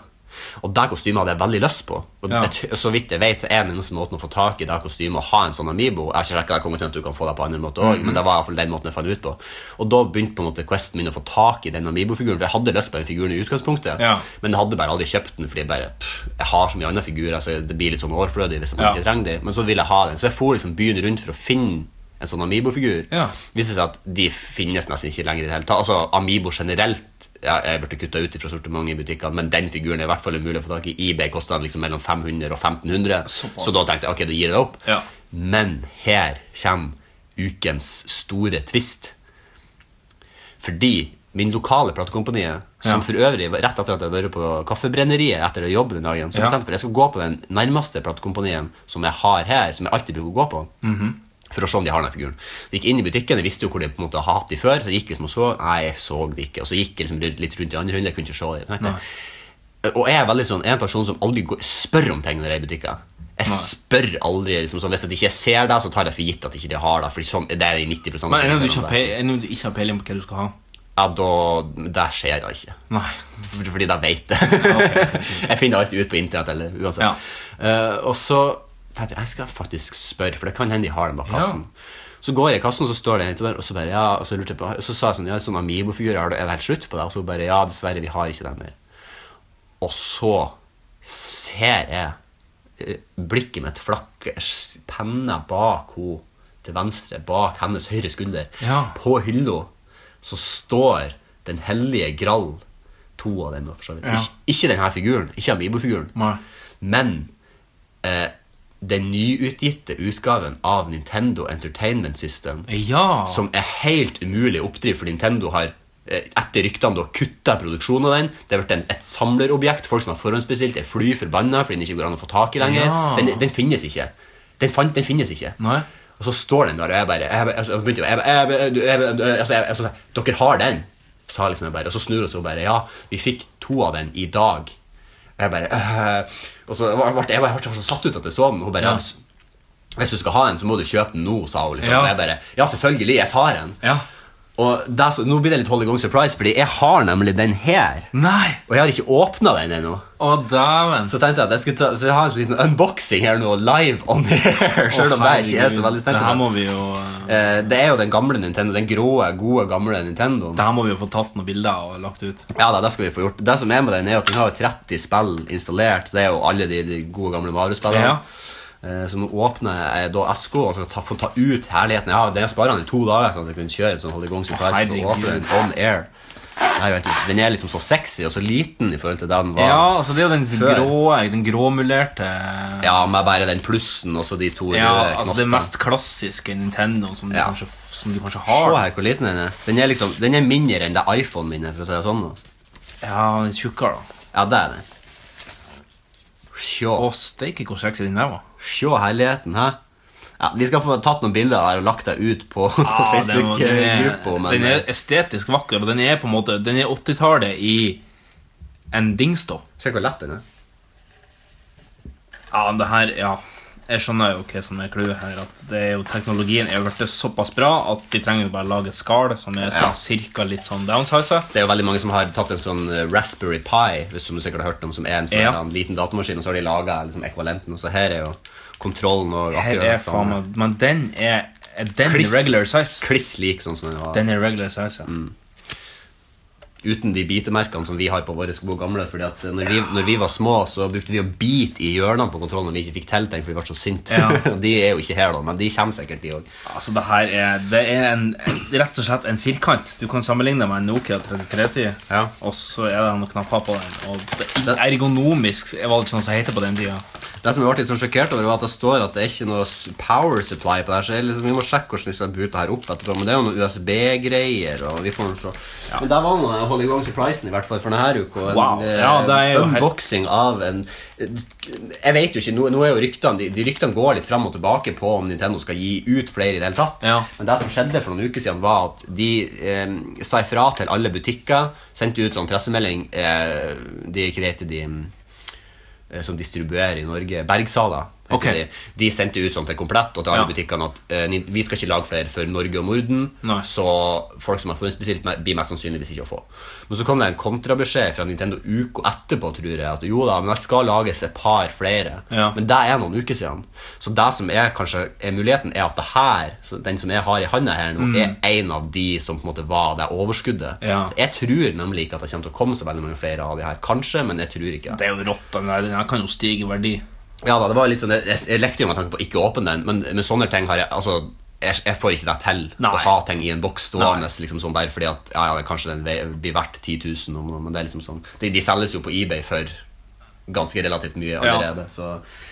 C: Og det kostymet hadde jeg veldig lyst på. Og
B: Ja.
C: jeg t- så vidt jeg vet, så er den eneste måten å få tak i det kostymet og ha en sånn amiibo Jeg har ikke rekket det kommer til at du kan få det på andre måter
B: Mhm.
C: også, men det var i hvert fall den måten jeg fant ut på. Og da begynte på en måte questen min å få tak i den amiibo-figuren, for jeg hadde lyst på den figuren i utgangspunktet.
B: Ja.
C: Men jeg hadde bare aldri kjøpt den fordi jeg bare pff, Jeg har så mye andre figurer, så det blir litt sånn overflødig hvis jeg
B: Ja.
C: ikke trenger dem. Men så ville jeg ha den. Så jeg for liksom byen rundt for å finne en sånn Amiibo-figur.
B: Ja.
C: Viste seg sånn at de finnes nesten ikke lenger i det hele tatt. Altså, Amiibo generelt ja, er blitt kutta ut fra sortiment i butikkene, men den figuren er i hvert fall umulig å få tak i. eBay koster den liksom mellom 500 og 1500,
B: Såpass.
C: så da tenkte jeg ok, da gir jeg det opp.
B: Ja.
C: Men her kommer ukens store twist. Fordi min lokale platekompaniet,
B: Ja.
C: som for øvrig var rett etter at jeg hadde vært på Kaffebrenneriet etter å jobbe den dagen, så
B: Ja.
C: bestemte jeg for jeg skal gå på den nærmeste platekompanien som jeg har her, som jeg alltid bruker å gå på.
B: Mhm.
C: For å se om de har den figuren. Så gikk jeg inn i butikken, jeg visste jo hvor de på en måte har hatt de før. Så jeg gikk liksom og så, nei, jeg så det ikke. Og så gikk jeg liksom rundt- litt rundt i andre runde, jeg kunne ikke se det. Tenkte jeg, og jeg er veldig sånn, jeg er en person som aldri går, spør om ting når jeg er i butikker. Jeg
B: Nei.
C: spør aldri, liksom sånn, Hvis jeg ikke ser det, så tar jeg for gitt at ikke de har det. Fordi sånn, det er de 90
B: Men ennå
C: av
B: du, ikke
C: tilfellene
B: har
C: der.
B: pe- ennå du ikke har peiling på hva du skal ha.
C: Ja, da Det skjer da ikke.
B: Nei.
C: For- Fordi da veit jeg. *laughs* jeg finner alltid ut på internett. eller uansett.
B: Ja.
C: Eh, og så tenkte jeg jeg skal faktisk spørre, for det kan hende de har den bak
B: Ja.
C: kassen. Så går jeg i kassen, så står det en jente der, og så bare, ja, og så lurte jeg på, og så sa jeg sånn ja, sånn Amiibo-figur, er det er det helt slutt på det? Og så bare ja, dessverre, vi har ikke det mer. Og så ser jeg eh, blikket mitt flakke, s- penna bak henne til venstre, bak hennes høyre skulder.
B: Ja.
C: På hylla så står Den hellige grall, to av dem, da, for så vidt.
B: Ja.
C: Ikke, ikke denne figuren, ikke Amiibo-figuren,
B: Nei.
C: men eh, den nyutgitte utgaven av Nintendo Entertainment System
B: Ja.
C: som er helt umulig å oppdrive, for Nintendo har eh, etter ryktene da kutta produksjonen av den. Det har blitt en- et samlerobjekt. Folk som har forhåndsbestilt, er fly forbanna fordi den ikke går an å få tak i lenger.
B: Ja.
C: Den, den finnes ikke. Den, fant, den finnes ikke.
B: Nei.
C: Og så står den der, og jeg bare jeg, bare- altså, jeg begynte jo, jeg, bare- jeg, bare- du- jeg, bare- du- altså, jeg, altså, Dere har den, sa liksom jeg bare. Og så snur hun seg og bare Ja, vi fikk to av den i dag. Eh, Og jeg bare «Øh». Og så ble jeg, jeg, ble så satt ut at jeg så den. Og hun bare
B: Ja.
C: «Hvis- Hvis du skal ha en, så må du kjøpe den nå, sa hun. liksom
B: Ja.
C: Og jeg bare Ja, selvfølgelig. Jeg tar den.
B: Ja.
C: Og det, er så, nå blir det litt Holy Gong surprise, Fordi jeg har nemlig den her.
B: Nei!
C: Og jeg har ikke åpna den ennå.
B: Å, dæven.
C: Så tenkte jeg at jeg skulle ta, så jeg har en sånn liten unboxing her nå, live on air. Selv om det ikke er så veldig
B: Det her
C: stengt.
B: må vi jo eh,
C: Eh, Det er jo den gamle Nintendo, den grå, gode, gamle Nintendoen.
B: Det her må vi jo få tatt noen bilder og lagt ut.
C: Ja, da, det skal vi få gjort. Det som er med den, er jo at den har jo 30 spill installert. Så det er jo alle de, de gode, gamle Mario-spillene.
B: Ja.
C: Eh, Så nå åpner jeg da SK og skal ta, få ta ut herligheten. Ja, den sparer han i to dager, sånn at jeg kunne kjøre en sånn Holy Gong Surprise. Så
B: herregud.
C: åpner den on air. Det er jo helt, ut- den er liksom så sexy og så liten i forhold til det den var.
B: Ja, altså det er jo den
C: Før.
B: grå, eh, den gråmulerte
C: Ja, med bare den plussen og så de to
B: Ja,
C: røde
B: altså det
C: knastene.
B: mest klassiske Nintendo som du,
C: Ja.
B: kanskje, som du kanskje
C: Se
B: har.
C: her hvor liten den er. Den er liksom, den er mindre enn det iPhone min er, for å si det sånn. da.
B: Ja, den er tjukkere, da.
C: Ja, det er den. Sjå,
B: Å, steike hvor sexy den der var.
C: sjå herligheten, hæ? Ja, vi skal få tatt noen bilder der og lagt deg ut *laughs* på *laughs*
B: Ja, Ah, den var- den
C: Facebook-gruppa,
B: er-
C: men eh,
B: Den er estetisk vakker, og den er på en måte Den er 80-tallet i en dingstopp.
C: Se hvor lett den er.
B: Ja, det her, ja Jeg skjønner jo hva som er clouet her. At det er jo Teknologien er jo blitt såpass bra at de trenger jo bare lage et skall som er
C: Ja.
B: sånn cirka litt sånn downsize.
C: Det er jo veldig mange som har tatt en sånn eh, Raspberry Pi, hvis du sikkert har hørt om, som er en sånn
B: Ja.
C: her, en liten datamaskin, og så har de laga liksom, ekvalenten, og så her er jo kontrollen og
B: Her
C: akkurat
B: er
C: det
B: faen
C: samme.
B: meg Men den er er den
C: Kliss. Mm.
B: regular size.
C: Kliss lik sånn som den var.
B: Den er regular size, ja.
C: uten de bitemerkene som vi har på våre gode gamle. Fordi at eh, når vi, når vi var små, så brukte vi å bite i hjørnene på kontrollen når vi ikke fikk til ting, for vi ble så sinte. *laughs*
B: Ja.
C: de er jo ikke her, da, men de kommer sikkert, de òg.
B: Altså, det her er Det er en, en- rett og slett en firkant. Du kan sammenligne med en Nokia 3310,
C: Ja.
B: og så er det noen knapper på den. Og det ergonomisk var det ikke noe som heter på den tida.
C: Det som jeg ble litt sånn sjokkert over, var at det står at det er ikke noe s- power supply på det her. Så jeg liksom, vi må sjekke hvordan vi skal bute her opp etterpå. Men det er jo noen USB-greier, og vi får nå se. Men der var nå Holy Gong Surprisen, i hvert fall for denne uka. En
B: Wow.
C: eh,
B: Ja, det er jo helt-
C: unboxing av en Jeg vet jo ikke, nå, nå er jo ryktene de, de ryktene går litt fram og tilbake på om Nintendo skal gi ut flere i det hele tatt.
B: Ja.
C: Men det som skjedde for noen uker siden, var at de eh, sa ifra til alle butikker, sendte ut sånn pressemelding eh, De ikke det heter de mm, eh, som distribuerer i Norge, Bergsala. heter
B: Ok.
C: De. de sendte ut sånn til Komplett og til
B: Ja.
C: alle butikkene at eh, ni- vi skal ikke lage flere for Norge og Norden,
B: Nei.
C: så folk som har funnet spesielt, me- blir mest sannsynligvis ikke å få. Men så kom det en kontrabeskjed fra Nintendo uka etterpå, tror jeg, at jo da, men det skal lages et par flere.
B: Ja.
C: Men det er noen uker siden. Så det som er kanskje er muligheten, er at det her, så den som jeg har i handa her nå, er en av de som på en måte var det overskuddet.
B: Mm. Ja.
C: Så jeg tror nemlig ikke at det kommer til å komme så veldig mange flere av de her. Kanskje, men jeg tror ikke.
B: Det er jo rått. Den, der, den her kan jo stige i verdi.
C: Ja da, det var litt sånn Jeg, jeg lekte jo med tanke på å ikke åpne den, men med sånne ting har jeg Altså, jeg, jeg får ikke det til å
B: Nei.
C: ha ting i en boks stående liksom sånn bare fordi at Ja, ja, det- kanskje den ve- blir verdt 10 000, om- men det er liksom sånn De, de selges jo på eBay for ganske relativt mye allerede, så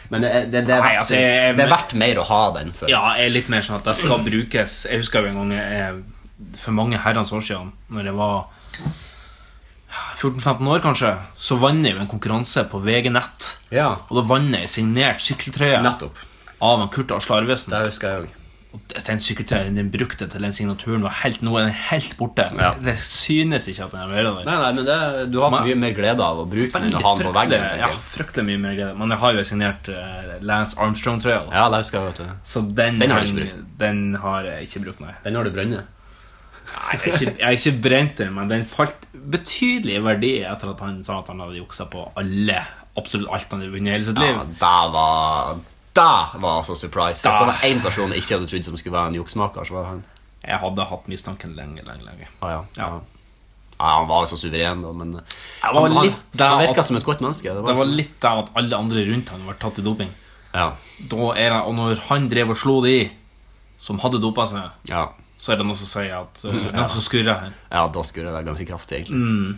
C: Men det, det, det,
B: Nei,
C: er, verdt,
B: altså, jeg-
C: det er verdt mer å ha den for.
B: Ja, jeg er litt mer sånn at det skal brukes. Jeg husker jo en gang jeg, for mange herrens år siden, når jeg var 14-15 år kanskje, så vant jeg jo en konkurranse på VG Nett.
C: Ja,
B: Og da vant jeg signert sykkeltrøye
C: nettopp.
B: av en Kurt Asle Arvesen.
C: Det husker jeg òg.
B: Og Den sykkeltrøyen den brukte til den signaturen var helt, nå er den helt borte.
C: Ja.
B: Det synes ikke at den er bedre der.
C: Nei, nei, men det, du har hatt mye
B: Men-
C: mer glede av å bruke den enn å ha den på
B: Fryktelig,
C: veggen. tenker
B: ja,
C: jeg.
B: fryktelig mye mer glede. Men jeg har jo signert eh, Lance Armstrong-trøya. da.
C: Ja, det husker jeg, vet du.
B: Så den,
C: Den har du
B: heng-
C: ikke brukt.
B: Den har jeg ikke brukt, nei.
C: Den har du brønnet.
B: Nei, jeg har ikke, jeg har ikke brent den, men den falt betydelig i verdi etter at han sa at han hadde juksa på alle, absolutt alt han hadde vunnet i hele sitt
C: Ja,
B: liv.
C: det var Det var altså surprise. Hvis
B: Da.
C: det var én person jeg ikke hadde trodd som skulle være en juksmaker, så var det han.
B: Jeg hadde hatt mistanken lenge, lenge, lenge.
C: Ah, ja. Ja.
B: Ja.
C: Ja, han var jo så suveren, da, men
B: Det var
C: han, han,
B: litt det
C: han virka
B: at,
C: som et godt menneske. liksom-
B: det var litt det at alle andre rundt han var tatt i doping.
C: Ja.
B: Da er det, og når han drev og slo de som hadde dopa seg,
C: Ja.
B: så er det noe som sier at eh, det er noe som skurrer her.
C: ja, da skurrer det ganske kraftig,
B: Mm.
C: egentlig.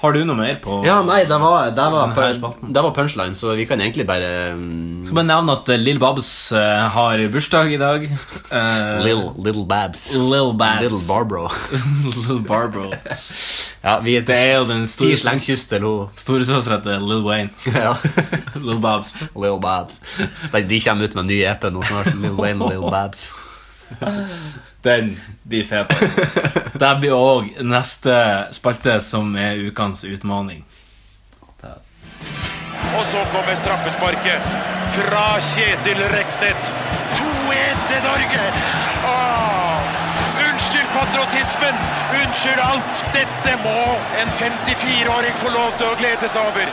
B: Har du noe mer på
C: Ja, nei, det var, det, var,
B: Denne her spalten.
C: det var punchline, så vi kan egentlig bare um,
B: Skal bare nevne at eh, Lill Babs eh, har bursdag i dag. Eh,
C: Little, little Babs.
B: Lil Babs.
C: Little Barbro.
B: *laughs* Lil Barbro.
C: Ja, vi
B: Det er jo den store
C: Ti slengkyss til henne. *laughs*
B: Storesøstera til Lil Wayne. *laughs*
C: Ja.
B: Lil Babs.
C: Lil Babs. De, de kommer ut med en ny EP nå snart. Lil Wayne og Lil Babs.
B: Den blir fet. Det blir òg neste spalte, som er ukens utfordring.
D: så kommer straffesparket fra Kjetil Reknet. 2-1 til Norge! Åh, unnskyld patriotismen! Unnskyld alt! Dette må en 54-åring få lov til å glede seg over.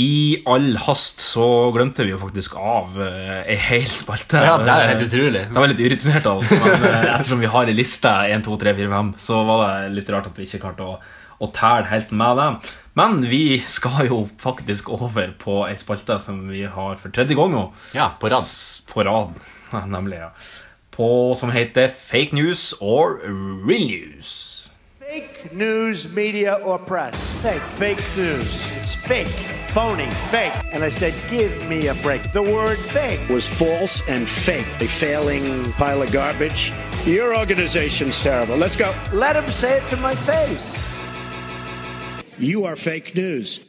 B: I all hast så glemte vi jo faktisk av eh, ei hel spalte.
C: Ja, det er helt utrolig.
B: Det var litt urutinert av oss, men eh, ettersom vi har ei liste 1, 2, 3, 4, 5, så var det litt rart at vi ikke klarte å, å telle helt med dem. Men vi skal jo faktisk over på ei spalte som vi har for tredje gang nå.
C: Ja, på rad.
B: S- På rad, nemlig. ja. På, som heter Fake news or real news.
E: Fake news, media, or press. Fake. Fake news. It's fake. Phony. Fake. And I said, give me a break. The word fake was false and fake. A failing pile of garbage. Your organization's terrible. Let's go. Let him say it to my face. You are fake news.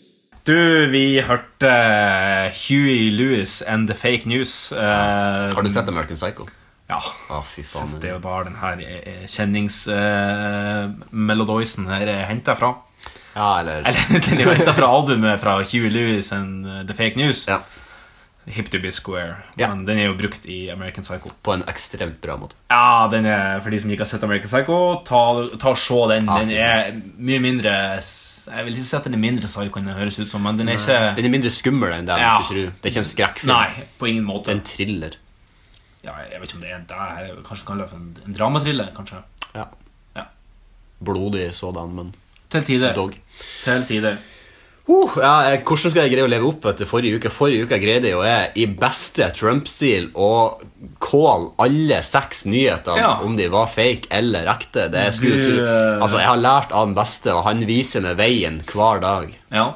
B: Du, vi hørte eh, Huey Lewis and the Fake News. Eh,
C: Har du sett American Psycho?
B: ja.
C: Å, fy faen.
B: Det er jo da den her eh, kjenningsmelodisen her er henta fra. *laughs*
C: Ja, eller
B: Eller den er jo henta fra albumet fra Huey Lewis and eh, The Fake News.
C: Ja.
B: Hip to be square.
C: Ja.
B: Men den er jo brukt i American Psycho.
C: På en ekstremt bra måte.
B: Ja, den er, For de som ikke har sett American Psycho, ta, ta og se den.
C: Ja,
B: Den
C: fy.
B: er mye mindre s- Jeg vil ikke si at den er mindre psycho enn den høres ut som, men den er ikke
C: Den er mindre skummel enn det
B: Ja.
C: jeg skulle tro. Det er ikke en skrekkfilm.
B: Nei, på ingen måte.
C: Det er en thriller.
B: ja, jeg vet ikke om det er en der, jeg kanskje kaller det for en, en dramatriller, kanskje.
C: Ja.
B: Ja.
C: Blodig sådan, men
B: Til tider.
C: dog.
B: Til tider.
C: Uh, ja, eh, hvordan skal jeg greie å leve opp etter forrige uke? Forrige uke greide jeg jo jeg i beste Trump-stil å call alle seks nyhetene,
B: Ja.
C: om de var fake eller ekte. Det er
B: Du,
C: skulle tro.
B: eh,
C: Altså, jeg har lært av den beste, og han viser meg veien hver dag.
B: Ja.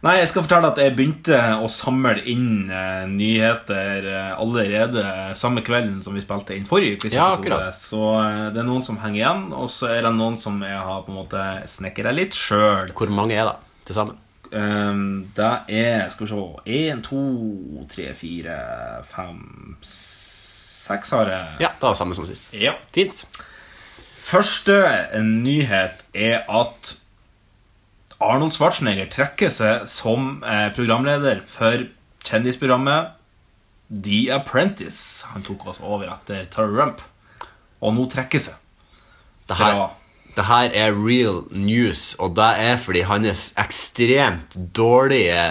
B: Nei, jeg skal fortelle at jeg begynte å samle inn eh, nyheter eh, allerede samme kvelden som vi spilte inn forrige
C: Ja,
B: quiz-episode.
C: akkurat.
B: så eh, det er noen som henger igjen, og så er det noen som jeg har på en måte snekra litt sjøl.
C: Hvor mange er det til sammen?
B: Um, det er Skal vi se Én, to, tre, fire, fem, seks har jeg.
C: Ja, det var det samme som sist.
B: Ja.
C: Fint.
B: Første nyhet er at Arnold Schwarzenegger trekker seg som eh, programleder for kjendisprogrammet The Apprentice. Han tok oss over etter Trump, og nå trekker seg.
C: Det her,
B: Fra,
C: det her er real news, og det er fordi hans ekstremt dårlige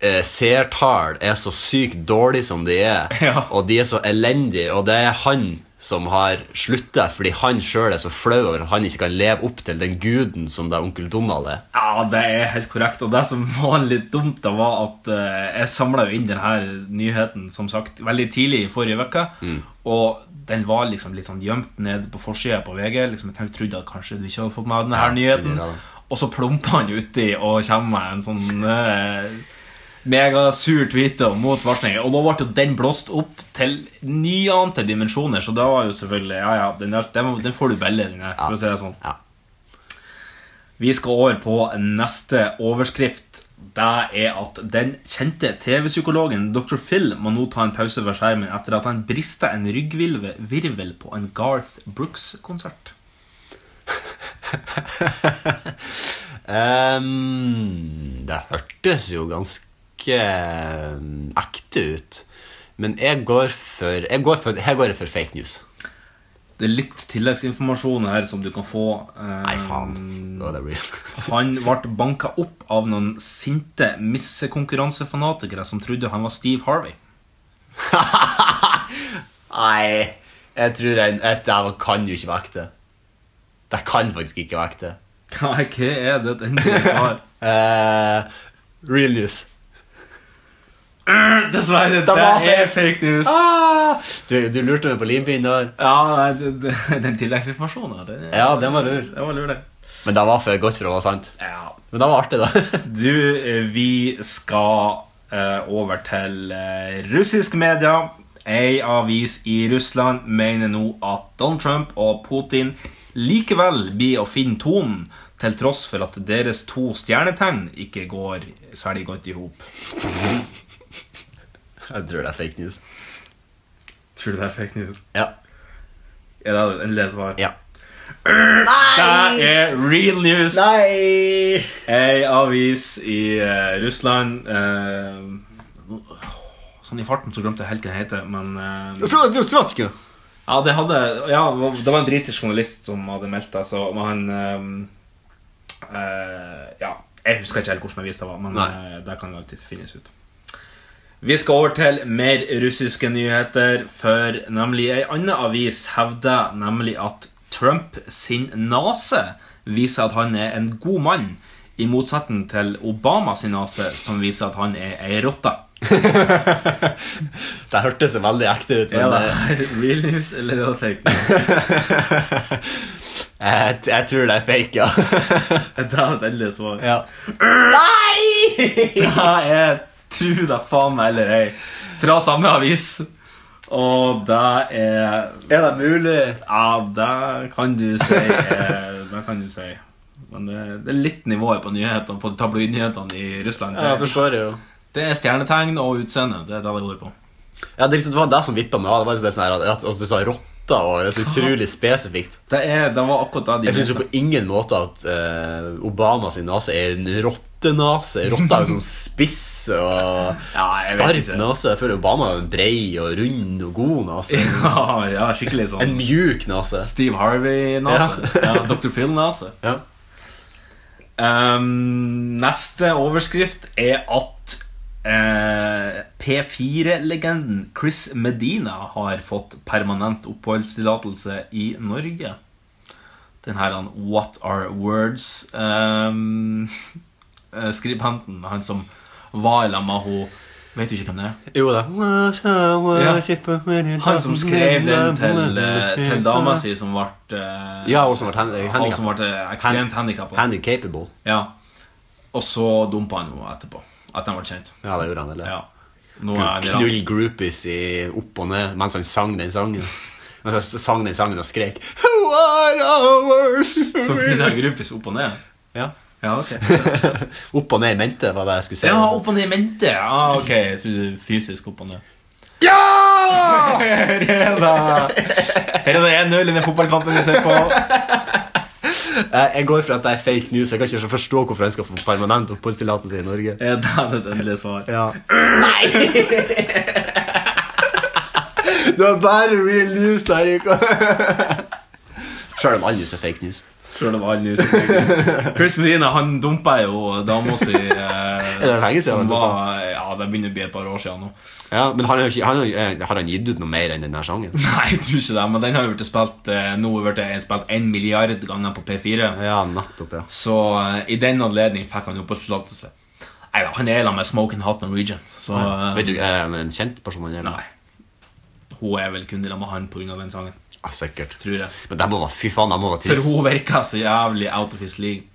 C: eh, seertall er så sykt dårlig som de er,
B: Ja.
C: og de er så elendige, og det er han som har slutta fordi han sjøl er så flau over at han ikke kan leve opp til den guden som det er onkel Donald er.
B: ja, det er helt korrekt. Og det som var litt dumt, da var at eh, jeg samla inn denne nyheten som sagt, veldig tidlig i forrige uke.
C: Mm.
B: Og den var liksom litt sånn gjemt ned på forsida på VG. Liksom, jeg trodde at kanskje du ikke hadde fått med deg denne
C: Ja,
B: nyheten.
C: det er det.
B: Og så plumper han uti og kommer med en sånn eh, megasur tweet mot Schwarzenegger. Og da ble jo den blåst opp til nyante dimensjoner, så da var jo selvfølgelig Ja, ja, den, der, den, den får du belle, den der, for å si det sånn.
C: Ja.
B: Vi skal over på neste overskrift. Det er at den kjente TV-psykologen Dr. Phil må nå ta en pause fra skjermen etter at han brista en ryggvirvel på en Garth Brooks-konsert.
C: Ehm, det hørtes jo ganske eh, ekte ut, men jeg går for, jeg går for, her går jeg for fake news.
B: Det er litt tilleggsinformasjon her som du kan få. eh,
C: Nei, faen.
B: Mm.
C: Det var det real.
B: Han ble banka opp av noen sinte missekonkurransefanatikere som trodde han var Steve Harvey.
C: *laughs* Nei, jeg tror den, et der kan jo ikke være ekte. Det kan faktisk ikke være ekte.
B: Nei, hva er det et endelig
C: *laughs*
B: svar?
C: Eh, real news.
B: Dessverre, det,
C: var
B: er fake news.
C: Ah, du, du lurte meg på limpinnen der.
B: Ja, nei, det, det, *laughs* den tilleggsinformasjonen her, den, er-
C: Ja, den var lur.
B: Den var lur, det.
C: Men det var for godt for å være sant.
B: Ja.
C: Men det var artig, da. *laughs*
B: Du, eh, vi skal eh, over til eh, russisk media. Ei avis i Russland mener nå at Donald Trump og Putin likevel blir å finne tonen, til tross for at deres to stjernetegn ikke går særlig godt i hop.
C: Jeg tror det er fake news.
B: Tror du det er fake news?
C: Ja.
B: Er det endelig svar?
C: ja.
B: Det er real news.
C: Nei!
B: Ei avis i eh, Russland eh, Sånn i farten så glemte jeg helt hva den heter, men eh, Ja, det hadde Ja, det var en britisk journalist som hadde meldt det, så men han eh, eh, Ja, jeg husker ikke helt hvilken avis det var, men
C: Nei.
B: eh, det kan jo alltid finnes ut. Vi skal over til mer russiske nyheter, for nemlig ei anna avis hevder nemlig at Trump sin nase viser at han er en god mann, i motsetning til Obama sin nase, som viser at han er ei rotte.
C: Det hørtes jo veldig ekte ut,
B: Er
C: men
B: det
C: eh,
B: real news eller er det fake news? *laughs*
C: jeg, jeg tror det er *laughs* fake, ja.
B: Det er et endelig svar.
C: ja. Nei!
B: Ja, jeg tror det faen meg eller ei. Fra samme avis. Og det er
C: Er det mulig?
B: Ja, det kan du si. eh, Det kan du si. Men det, det er litt nivået på nyhetene På tabloidnyhetene i Russland.
C: Ja, jeg
B: Det,
C: forstår det jo.
B: det er stjernetegn og utseende. Det er det det går på.
C: Ja, det, er liksom, det var det som vippet meg av. Det var liksom bare sånn her, at, at du sa rotta, og det er så utrolig spesifikt.
B: Det, er, det var akkurat det de
C: Jeg syns jo
B: mente.
C: på ingen måte at eh, Obama sin nase er en rottenase. Rotta er jo sånn spiss og
B: Ja, jeg vet
C: skarp
B: ikke.
C: nase. Jeg føler Obama er en brei og rund og god nase.
B: *laughs* Ja, ja, skikkelig
C: En
B: sånn
C: mjuk nase.
B: Steve Harvey-nase. Ja. Dr. Phil-nase.
C: Ja.
B: Ehm, neste overskrift er at eh, P4-legenden Chris Medina har fått permanent oppholdstillatelse i Norge. Den her han What Are Words ehm, eh, Skribenten, han som var i lag med hun Vet du ikke hvem det er?
C: Jo da.
B: Han som skrev den til, eh, til dama si som ble eh,
C: Ja, hun som ble hand-
B: hun som
C: handicap.
B: ble ekstremt handikappa.
C: Handicapable.
B: Ja. Og så dumpa han henne etterpå. Etter han ble kjent.
C: Ja, det gjorde han, eller?
B: Ja. Nå er det
C: Knull groupies i opp og ned mens han sang den sangen. Mens han sang den sangen og skrek What hours?
B: Så kunne jeg gruppes opp og ned.
C: Ja.
B: Ja, ok.
C: Opp og ned i mente, var det jeg skulle si.
B: Ja, opp og ned i mente. Ja, ok. Jeg trodde fysisk opp
C: *laughs*
B: og ned.
C: Ja!
B: Her er det Her er det 1-0 i den fotballkampen vi ser på.
C: Jeg jeg går for at det er fake news. Jeg kan ikke så forstå hvorfor han skal få permanent oppholdstillatelse i Norge.
B: Er det et endelig svar?
C: Ja. Nei! Det er bare real news her, Riko. Sjøl om all news er fake news.
B: Selv om alle nyhetene Chris Medina han dumpa jo dama si
C: *laughs*
B: eh,
C: det lenge siden han
B: som
C: dumpa?
B: var Ja, det begynner å bli et par år siden nå. *laughs*
C: Ja, Men han har, jo ikke, han har, jo- eh, har han gitt ut noe mer enn den her sangen?
B: Nei, jeg tror ikke det, men den har jo blitt spilt eh, Nå har det blitt spilt en milliard ganger på P4.
C: Ja, nettopp, ja.
B: Så eh, i den anledning fikk han oppholdstillatelse. Nei da, han er sammen med Smoking Hot Norwegian, så eh,
C: Vet du, Er han en kjent person? Han er,
B: Nei. Hun er vel kun sammen med han pga. den sangen,
C: Ja, sikkert.
B: tror jeg.
C: Men det må være, fy faen, det må være
B: For
C: trist.
B: hun virka så jævlig out of his league.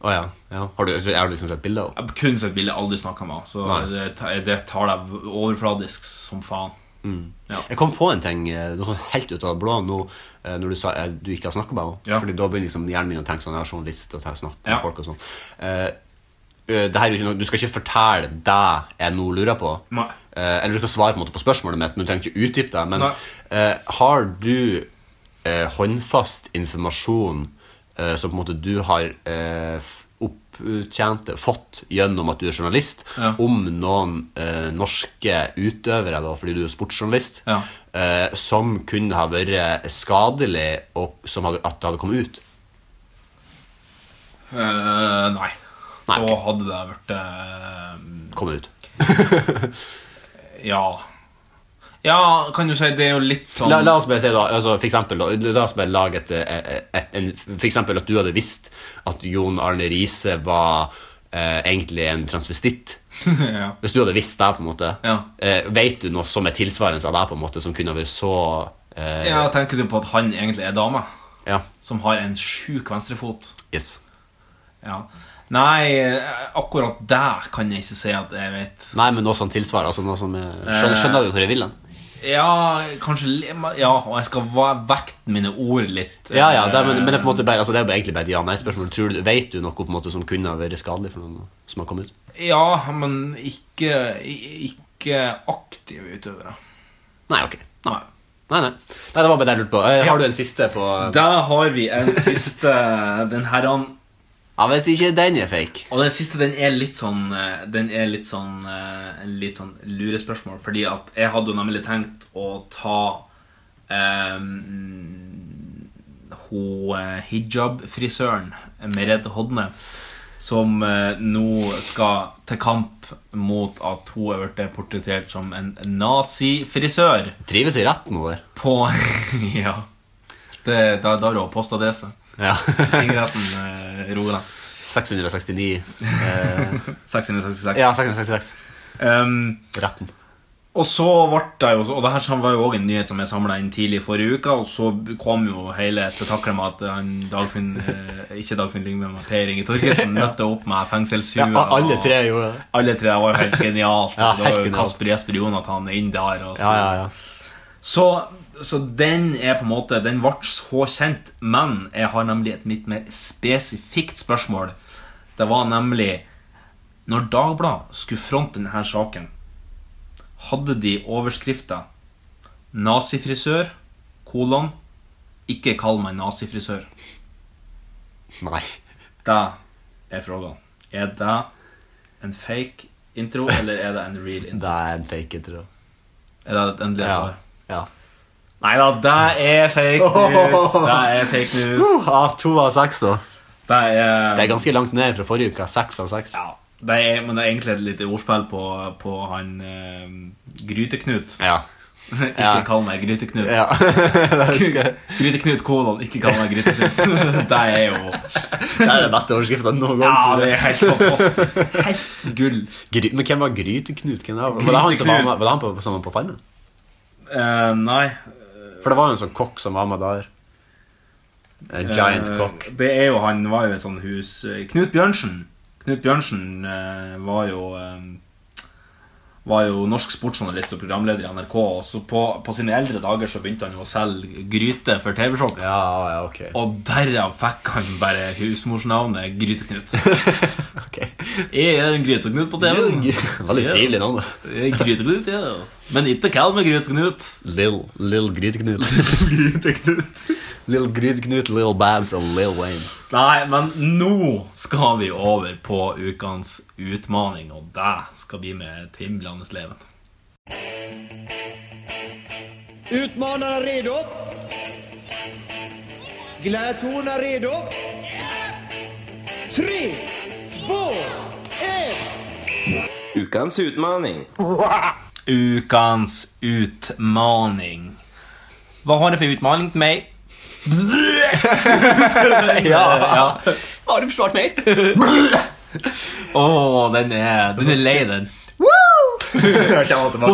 C: Å, ja. Ja. Har, du, har du liksom sett bilder av
B: Jeg har kun sett bildet, aldri snakka med henne. Så
C: Nei.
B: det, ta- det tar deg overfladisk som faen. Ja.
C: Jeg kom på en ting eh, noe sånn helt ut av det blå nå eh, når du sa eh, du ikke har snakka med henne.
B: Ja.
C: Fordi da begynner liksom hjernen min å tenke sånn, jeg er journalist og tenker snakk med
B: Ja.
C: folk og sånn. Eh, eh, det her er jo ikke noe, Du skal ikke fortelle deg jeg nå lurer på.
B: Nei.
C: Eh, eller du skal svare på, en måte på spørsmålet mitt, men du trenger ikke utdype det. Men
B: Nei.
C: eh, har du eh, håndfast informasjon eh, som på en måte du har eh, f- opptjent, fått gjennom at du er journalist,
B: Ja.
C: om noen eh, norske utøvere, da, fordi du er sportsjournalist,
B: Ja.
C: eh, som kunne ha vært eh, skadelig, og som hadde, at det hadde kommet ut?
B: Eh, nei.
C: Nei,
B: Da
C: ok.
B: hadde det vært eh,
C: Kommet ut.
B: Ja. Ja, kan du si, det er jo litt sånn
C: La, la oss bare si da, altså for eksempel, da, la oss bare lage et, et, et en, For eksempel at du hadde visst at Jon Arne Riise var eh, egentlig en transvestitt.
B: sånn, *laughs* ja.
C: Hvis du hadde visst det, på en måte
B: Ja.
C: eh, Vet du noe som er tilsvarende av deg, på en måte, som kunne vært så eh,
B: ja, tenker du på at han egentlig er dame?
C: ja.
B: Som har en sjuk venstrefot.
C: Yes.
B: Ja. Nei, eh, akkurat det kan jeg ikke si at jeg vet.
C: Nei, men noe som tilsvarer. Altså noe som er,
B: Eh.
C: skjønner, skjønner du hvor jeg vil hen?
B: Ja, kanskje li- ma- Ja, og jeg skal va- vekte mine ord litt.
C: Ja, ja, det, er-
B: Eh,
C: men, men det er på en måte bare, altså, det er bare egentlig bare et ja-nei-spørsmål. Tror du- Vet du noe på en måte som kunne ha vært skadelig for noen som har kommet ut?
B: Ja, men ikke, i- ikke aktive utøvere.
C: Nei, ok.
B: Nei.
C: Nei, nei. nei, det var bare det jeg lurte på. Eh, Har du en siste på
B: Da har vi en siste Den herren
C: Ja, Hvis ikke den er fake.
B: Og den siste, den er litt sånn eh, Den er litt sånn eh, en Litt sånn lurespørsmål Fordi at jeg hadde jo nemlig tenkt å ta eh, Hun eh, hijab-frisøren Merete Hodne Som eh, nå skal til kamp Mot at hun har vært portrettert som en nazi-frisør
C: Trives i retten vår.
B: På, *laughs* ja det, Da da har hun postadresse
C: Ja. *laughs*
B: Tingretten eh, Rogaland
C: 669 eh,
B: 666
C: Ja, 666.
B: Ehm,
C: Retten.
B: Og så ble det jo Og det her sånn var jo også en nyhet som jeg samla inn tidlig i forrige uke, og så kom jo hele spetakkelet med at han Dagfinn eh, Ikke Dagfinn Lyngve, men Per Inge Torgersen
C: *laughs*
B: møtte opp med fengselshue.
C: Ja, a- alle
B: og-
C: tre gjorde det.
B: Alle tre det var jo helt genialt.
C: Ja,
B: det var
C: helt
B: jo
C: genialt.
B: Kasper Jesper Jonathan inn der. Og så.
C: Ja, ja, ja.
B: Så, så den er på en måte Den ble så kjent, men jeg har nemlig et litt mer spesifikt spørsmål. Det var nemlig Når Dagbladet skulle fronte denne saken, hadde de overskrifta 'Nazifrisør', kolon 'Ikke kall meg nazifrisør'.
C: Nei.
B: Det er frågan. Er det en fake intro, eller er det en real intro?
C: Det er en fake, jeg tror jeg.
B: Er det et endelig
C: Ja.
B: svar?
C: ja.
B: Nei da, det er fake news. Det er fake news.
C: Uh, ah, to av seks, da.
B: Det er,
C: Det er ganske langt ned fra forrige uke. Seks av seks.
B: ja, det er, Men det er egentlig et lite ordspill på, på han eh, Gryteknut. *laughs*
C: Ja.
B: Ikke
C: Ja.
B: kall meg Gryteknut.
C: ja. *laughs* det husker jeg.
B: *laughs* Gryteknut kolon, ikke kall meg Gryteknut. *laughs* det er jo
C: Det er den beste overskrifta noen gang.
B: Ja,
C: tror
B: det
C: jeg.
B: er helt
C: *laughs*
B: fantastisk. Helt gull.
C: Gry men hvem var Gryteknut? Hvem det var? Var det han, som var, med, var det han på, som var på Farmen?
B: Eh, nei.
C: For det var jo en sånn kokk som var med der. En giant
B: Eh,
C: kokk.
B: Det er jo han var jo et sånt hus eh, Knut Bjørnsen. Knut Bjørnsen eh, var jo eh, var jo norsk sportsjournalist og programleder i NRK. Og så på, på sine eldre dager så begynte han jo å selge gryter for TV-Shop.
C: Ja, ja, ok.
B: Og derav fikk han bare husmorsnavnet Gryteknut.
C: *laughs* Ok.
B: Jeg er en Gryteknut på TV-en.
C: Veldig trivelig navn. da.
B: Jeg er Gryteknut, ja. Men ikke kall meg Gryteknut.
C: Lill Lill Gryteknut.
B: Gryteknut.
C: Lill Gryteknut, Lill Babs og Lill Wayne.
B: Nei, men nå skal vi over på ukens utmaning, og det skal bli med Tim Landesleven.
F: Utmanarna redo? Gladiatorerna redo? Tre, två, ett!
G: Ukens utmaning.
B: Ukens utmaning. Hva har du for utmaning til *laughs* meg? *laughs*
C: Ja. Har du forsvart *laughs* meg?
B: Å, den er Den er lei, den. Hun
C: Hun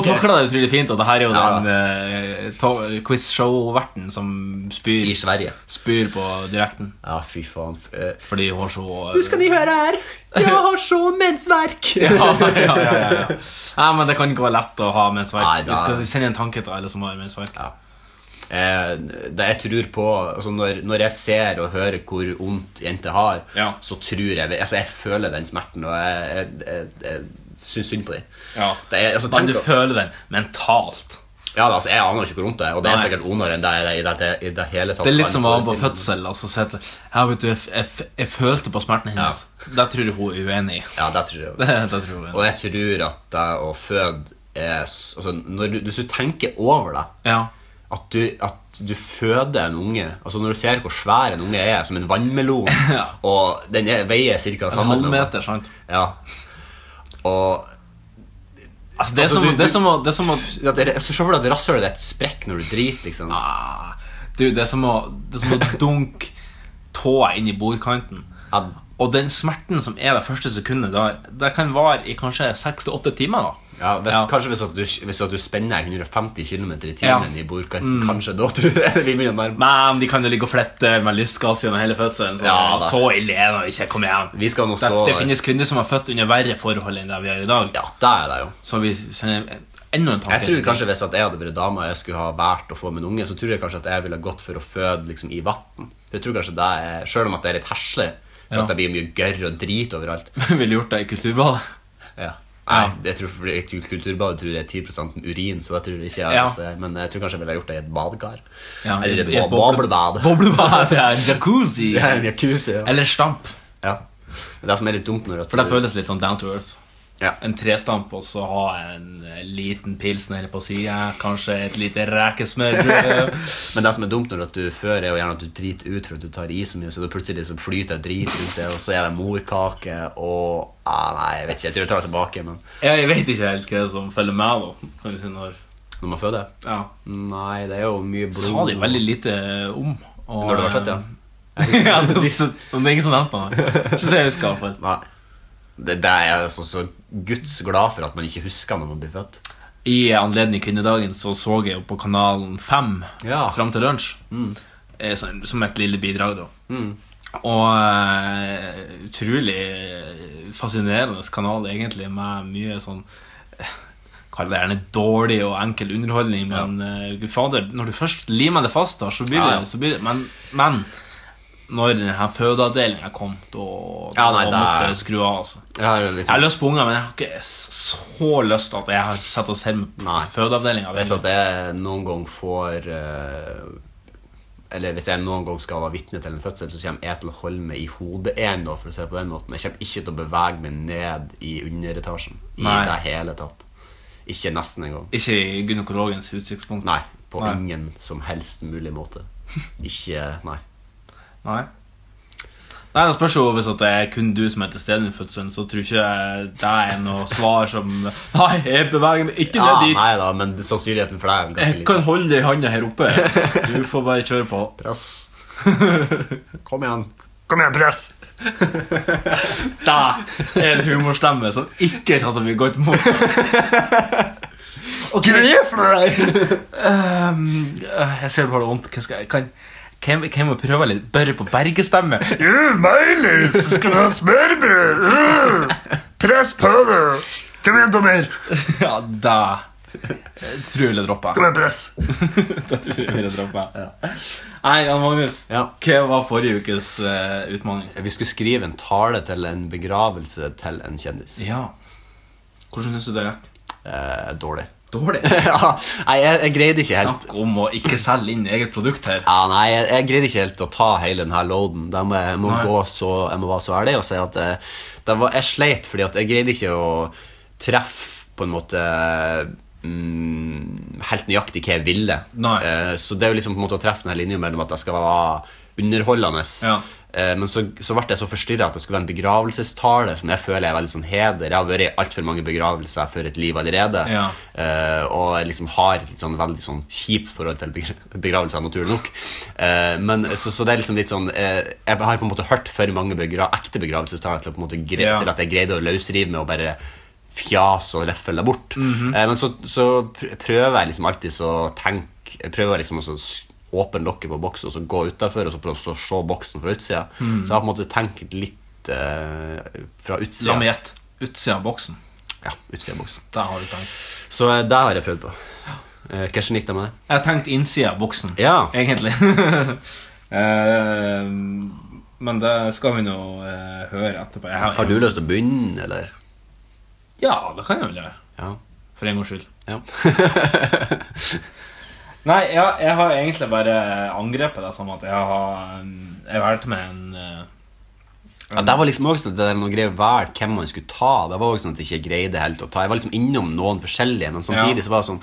B: takla det utrolig fint, og det her er jo
C: Ja,
B: den eh, to- quizshow-verten som spyr,
C: I Sverige.
B: spyr på direkten
C: Ja, fy faen. F- eh,
B: fordi hun har så eh,
C: de høre her? *laughs* Jeg har så mensverk!
B: ja, ja, ja, ja, ja. Nei, men det kan ikke være lett å ha
C: Nei,
B: mensverk.
C: da-
B: Vi skal sende en tanke til alle som har mensverk.
C: Eh, det jeg tror på altså når, når jeg ser og hører hvor vondt jenter har,
B: Ja.
C: så tror jeg altså Jeg føler den smerten, og jeg, jeg, jeg, jeg syns synd på dem.
B: Ja.
C: Det er, altså,
B: Men
C: tenk,
B: du
C: å-
B: føler den mentalt.
C: ja, da, altså, jeg aner ikke hvor vondt det er, og det er
B: Nei.
C: sikkert vondere enn det er i det, i det hele tatt.
B: Det er litt
C: kan
B: som å være på
C: forestille meg.
B: fødsel og så sier jeg til- Ja, vet du, jeg, f- jeg, f- jeg følte på smerten hennes. Det tror jeg hun er uenig i. *laughs*
C: Ja, det tror jeg
B: Det, det tror jeg hun er
C: Og
B: uenig i.
C: jeg tror at det å føde er s- altså, når du, Hvis du tenker over det
B: Ja.
C: at du, at du føder en unge Altså Når du ser hvor svær en unge er, som en vannmelon,
B: *laughs* Ja.
C: og den er, veier ca.
B: En
C: samme
B: halvmeter, sant?
C: Ja. Og
B: Altså, det er
C: Altså,
B: som,
C: du-
B: det er som, å- det er som å
C: at det- så Se for deg at rasshølet ditt sprekker når du driter, liksom. Ja,
B: ah, Du, det er som å, det er som
C: *laughs*
B: å dunke tåa inn i bordkanten. Og den smerten som er det første sekundet der, det kan vare i kanskje seks til åtte timer. da
C: ja, hvis,
B: Ja.
C: Kanskje hvis at du, hvis at du spenner 150 km i
B: Ja. Mm.
C: timen i bordkanten. Kanskje da, tror jeg. *laughs* Vi begynner å nærme
B: Men de kan jo ligge og flette med lystgass gjennom hele fødselen. Så,
C: Ja, da.
B: så ille er det ikke. Kom igjen.
C: Vi skal nå
B: det,
C: så-
B: det finnes kvinner som er født under verre forhold enn det vi gjør i dag.
C: Ja, det er det jo.
B: Så vi sender en- enda en tanke.
C: Jeg tror
B: *laughs*
C: kanskje Hvis at jeg hadde vært dame og jeg skulle ha valgt å få meg en unge, så tror jeg kanskje at jeg ville gått for å føde liksom, i vann. Jeg tror kanskje det er, Selv om at det er litt heslig, for
B: Ja. *laughs*
C: at det blir mye gørr og drit overalt.
B: Ville gjort det i kulturbadet.
C: Ja. Nei, jeg tror for det- Kulturbadet tror jeg er 10 urin, så det tror jeg ikke jeg,
B: Ja.
C: så jeg Men jeg tror kanskje jeg ville ha gjort det i et badekar.
B: Ja, i-
C: Eller
B: i et
C: et
B: boble-
C: boblebad.
B: Boblebad, ja, jacuzzi.
C: *laughs* Ja, en jacuzzi, ja.
B: Eller stamp.
C: ja. Men det som er litt dumt når at
B: For det føles litt sånn down to earth.
C: Ja.
B: En trestamp og så ha en eh, liten pilsner på sida, kanskje et lite rekesmørbrød.
C: *laughs* Men det som er dumt når at du før, er jo gjerne at du driter ut for at du tar i så mye, så du plutselig så flyter det drit ut, og så er det morkake og ah, Nei, jeg vet ikke. Jeg tror jeg tar det tilbake, men
B: Ja, jeg vet ikke helt hva som følger med, da. Kan du si når
C: når man føder
B: Ja.
C: Nei, det er jo mye blod.
B: Sa de veldig lite om. og-
C: Når du var født, ja.
B: *laughs* ja, det, det er ingen som nevnte
C: *laughs*
B: det. Ikke så jeg husker, i hvert fall.
C: Nei. Det, det er jeg så, så guds glad for at man ikke husker når man blir født.
B: I anledning kvinnedagen så så jeg jo på kanalen 5
C: Ja.
B: fram til lunsj. Eh, som- Som et lille bidrag, da.
C: Mm.
B: Og eh, utrolig fascinerende kanal, egentlig, med mye sånn eh, Kall det gjerne dårlig og enkel underholdning, men eh, gud fader, når du først limer det fast, da, så blir
C: Ja, ja.
B: det så blir det, Men, men når denne fødeavdelinga kom, da, da
C: Ja, nei, det
B: måtte
C: er-
B: jeg skru av. altså
C: Jeg har jo litt
B: jeg har
C: sånn-
B: lyst på unger, men jeg har ikke så lyst at jeg har satt og sett på
C: Nei.
B: fødeavdelinga.
C: Hvis at jeg noen gang får eh, Eller hvis jeg noen gang skal være vitne til en fødsel, så kommer jeg til å holde meg i hodet igjen, da, for å se på den måten. Jeg kommer ikke til å bevege meg ned i underetasjen i
B: Nei.
C: det hele tatt. Ikke nesten engang.
B: Ikke i gynekologens utsiktspunkt.
C: Nei. På
B: Nei.
C: ingen som helst mulig måte. Ikke Nei.
B: Nei. Nei, Det spørs jo hvis at det er kun du som er til stede i fødselen, så tror ikke jeg det er noe svar som Nei, jeg beveger meg ikke
C: Ja,
B: ned dit. Eh,
C: nei da, men sannsynligheten for det er ganske
B: jeg
C: liten.
B: kan holde deg i handa her oppe. Du får bare kjøre på. *laughs*
C: Press. Kom igjen.
B: Det er en humorstemme som ikke kommer til å bli godt *laughs* mottatt. Ehm, øh, jeg ser du har det vondt. Hva skal jeg kan, kan, kan jeg må prøve litt Børre på Berge-stemme?
H: Du, Meilis, skal du ha smørbrød? Uh, press på det. Kom igjen, dommer.
B: ja, da Jeg tror jeg ville droppe.
H: Kom igjen, press.
B: Da tror jeg jeg ville droppe. Nei, Jan Magnus,
C: Ja.
B: hva var forrige ukes eh, utfordring?
C: Vi skulle skrive en tale til en begravelse til en kjendis.
B: Ja. Hvordan syns du det gikk?
C: Eh, dårlig.
B: Dårlig?
C: *laughs* ja, nei, jeg, jeg greide ikke helt
B: Snakk om å ikke selge inn eget produkt her.
C: ja, nei, jeg, jeg greide ikke helt å ta hele denne loaden. Da må jeg, jeg må
B: Nei.
C: gå så, jeg må være så ærlig og si at eh, det var, jeg sleit fordi at jeg greide ikke å treffe på en måte mm, helt nøyaktig hva jeg ville.
B: Nei.
C: Eh, så det er jo liksom på en måte å treffe denne linja mellom at jeg skal være underholdende.
B: Ja.
C: Eh, Men så, så ble jeg så forstyrra at det skulle være en begravelsestale, som jeg føler er veldig sånn heder. Jeg har vært i altfor mange begravelser før et liv allerede.
B: Ja.
C: Eh, og jeg liksom har et litt sånn veldig sånn kjipt forhold til begra- begravelser, naturlig nok. Eh, men, så, så det er liksom litt sånn eh, Jeg har på en måte hørt for mange begra ekte begravelsestaler til, å på en måte gre
B: Ja.
C: til at jeg greide å løsrive meg og bare fjas og røffel det bort.
B: Mhm.
C: eh, men så, så pr- prøver jeg liksom alltid så å tenke Jeg prøver liksom å så s- åpne lokket på boksen og så gå utafor og så prøve å så se boksen fra utsida. Så jeg har på en måte tenkt litt eh, fra
B: Mhm. La meg
C: utsida.
B: gjette. Utsida av boksen.
C: Ja, utsida av boksen.
B: Der har du tenkt.
C: Så eh, det har jeg prøvd på. Eh, Hvordan gikk det med det?
B: Jeg har tenkt innsida av boksen,
C: Ja.
B: egentlig. *laughs* Eh, men det skal vi nå eh, høre etterpå. Jeg
C: Har du lyst til å begynne, eller?
B: Ja, det kan jeg vel gjøre.
C: Ja.
B: For en gangs skyld.
C: ja.
B: Nei, ja, jeg har egentlig bare angrepet deg som at jeg har mm, Jeg valgte meg en eh,
C: *laughs* Ja, det var liksom også sånn at det der med å greie å velge hvem man skulle ta. Det var også sånn at jeg ikke greide helt å ta Jeg var liksom innom noen forskjellige, men samtidig
B: Ja.
C: så var det sånn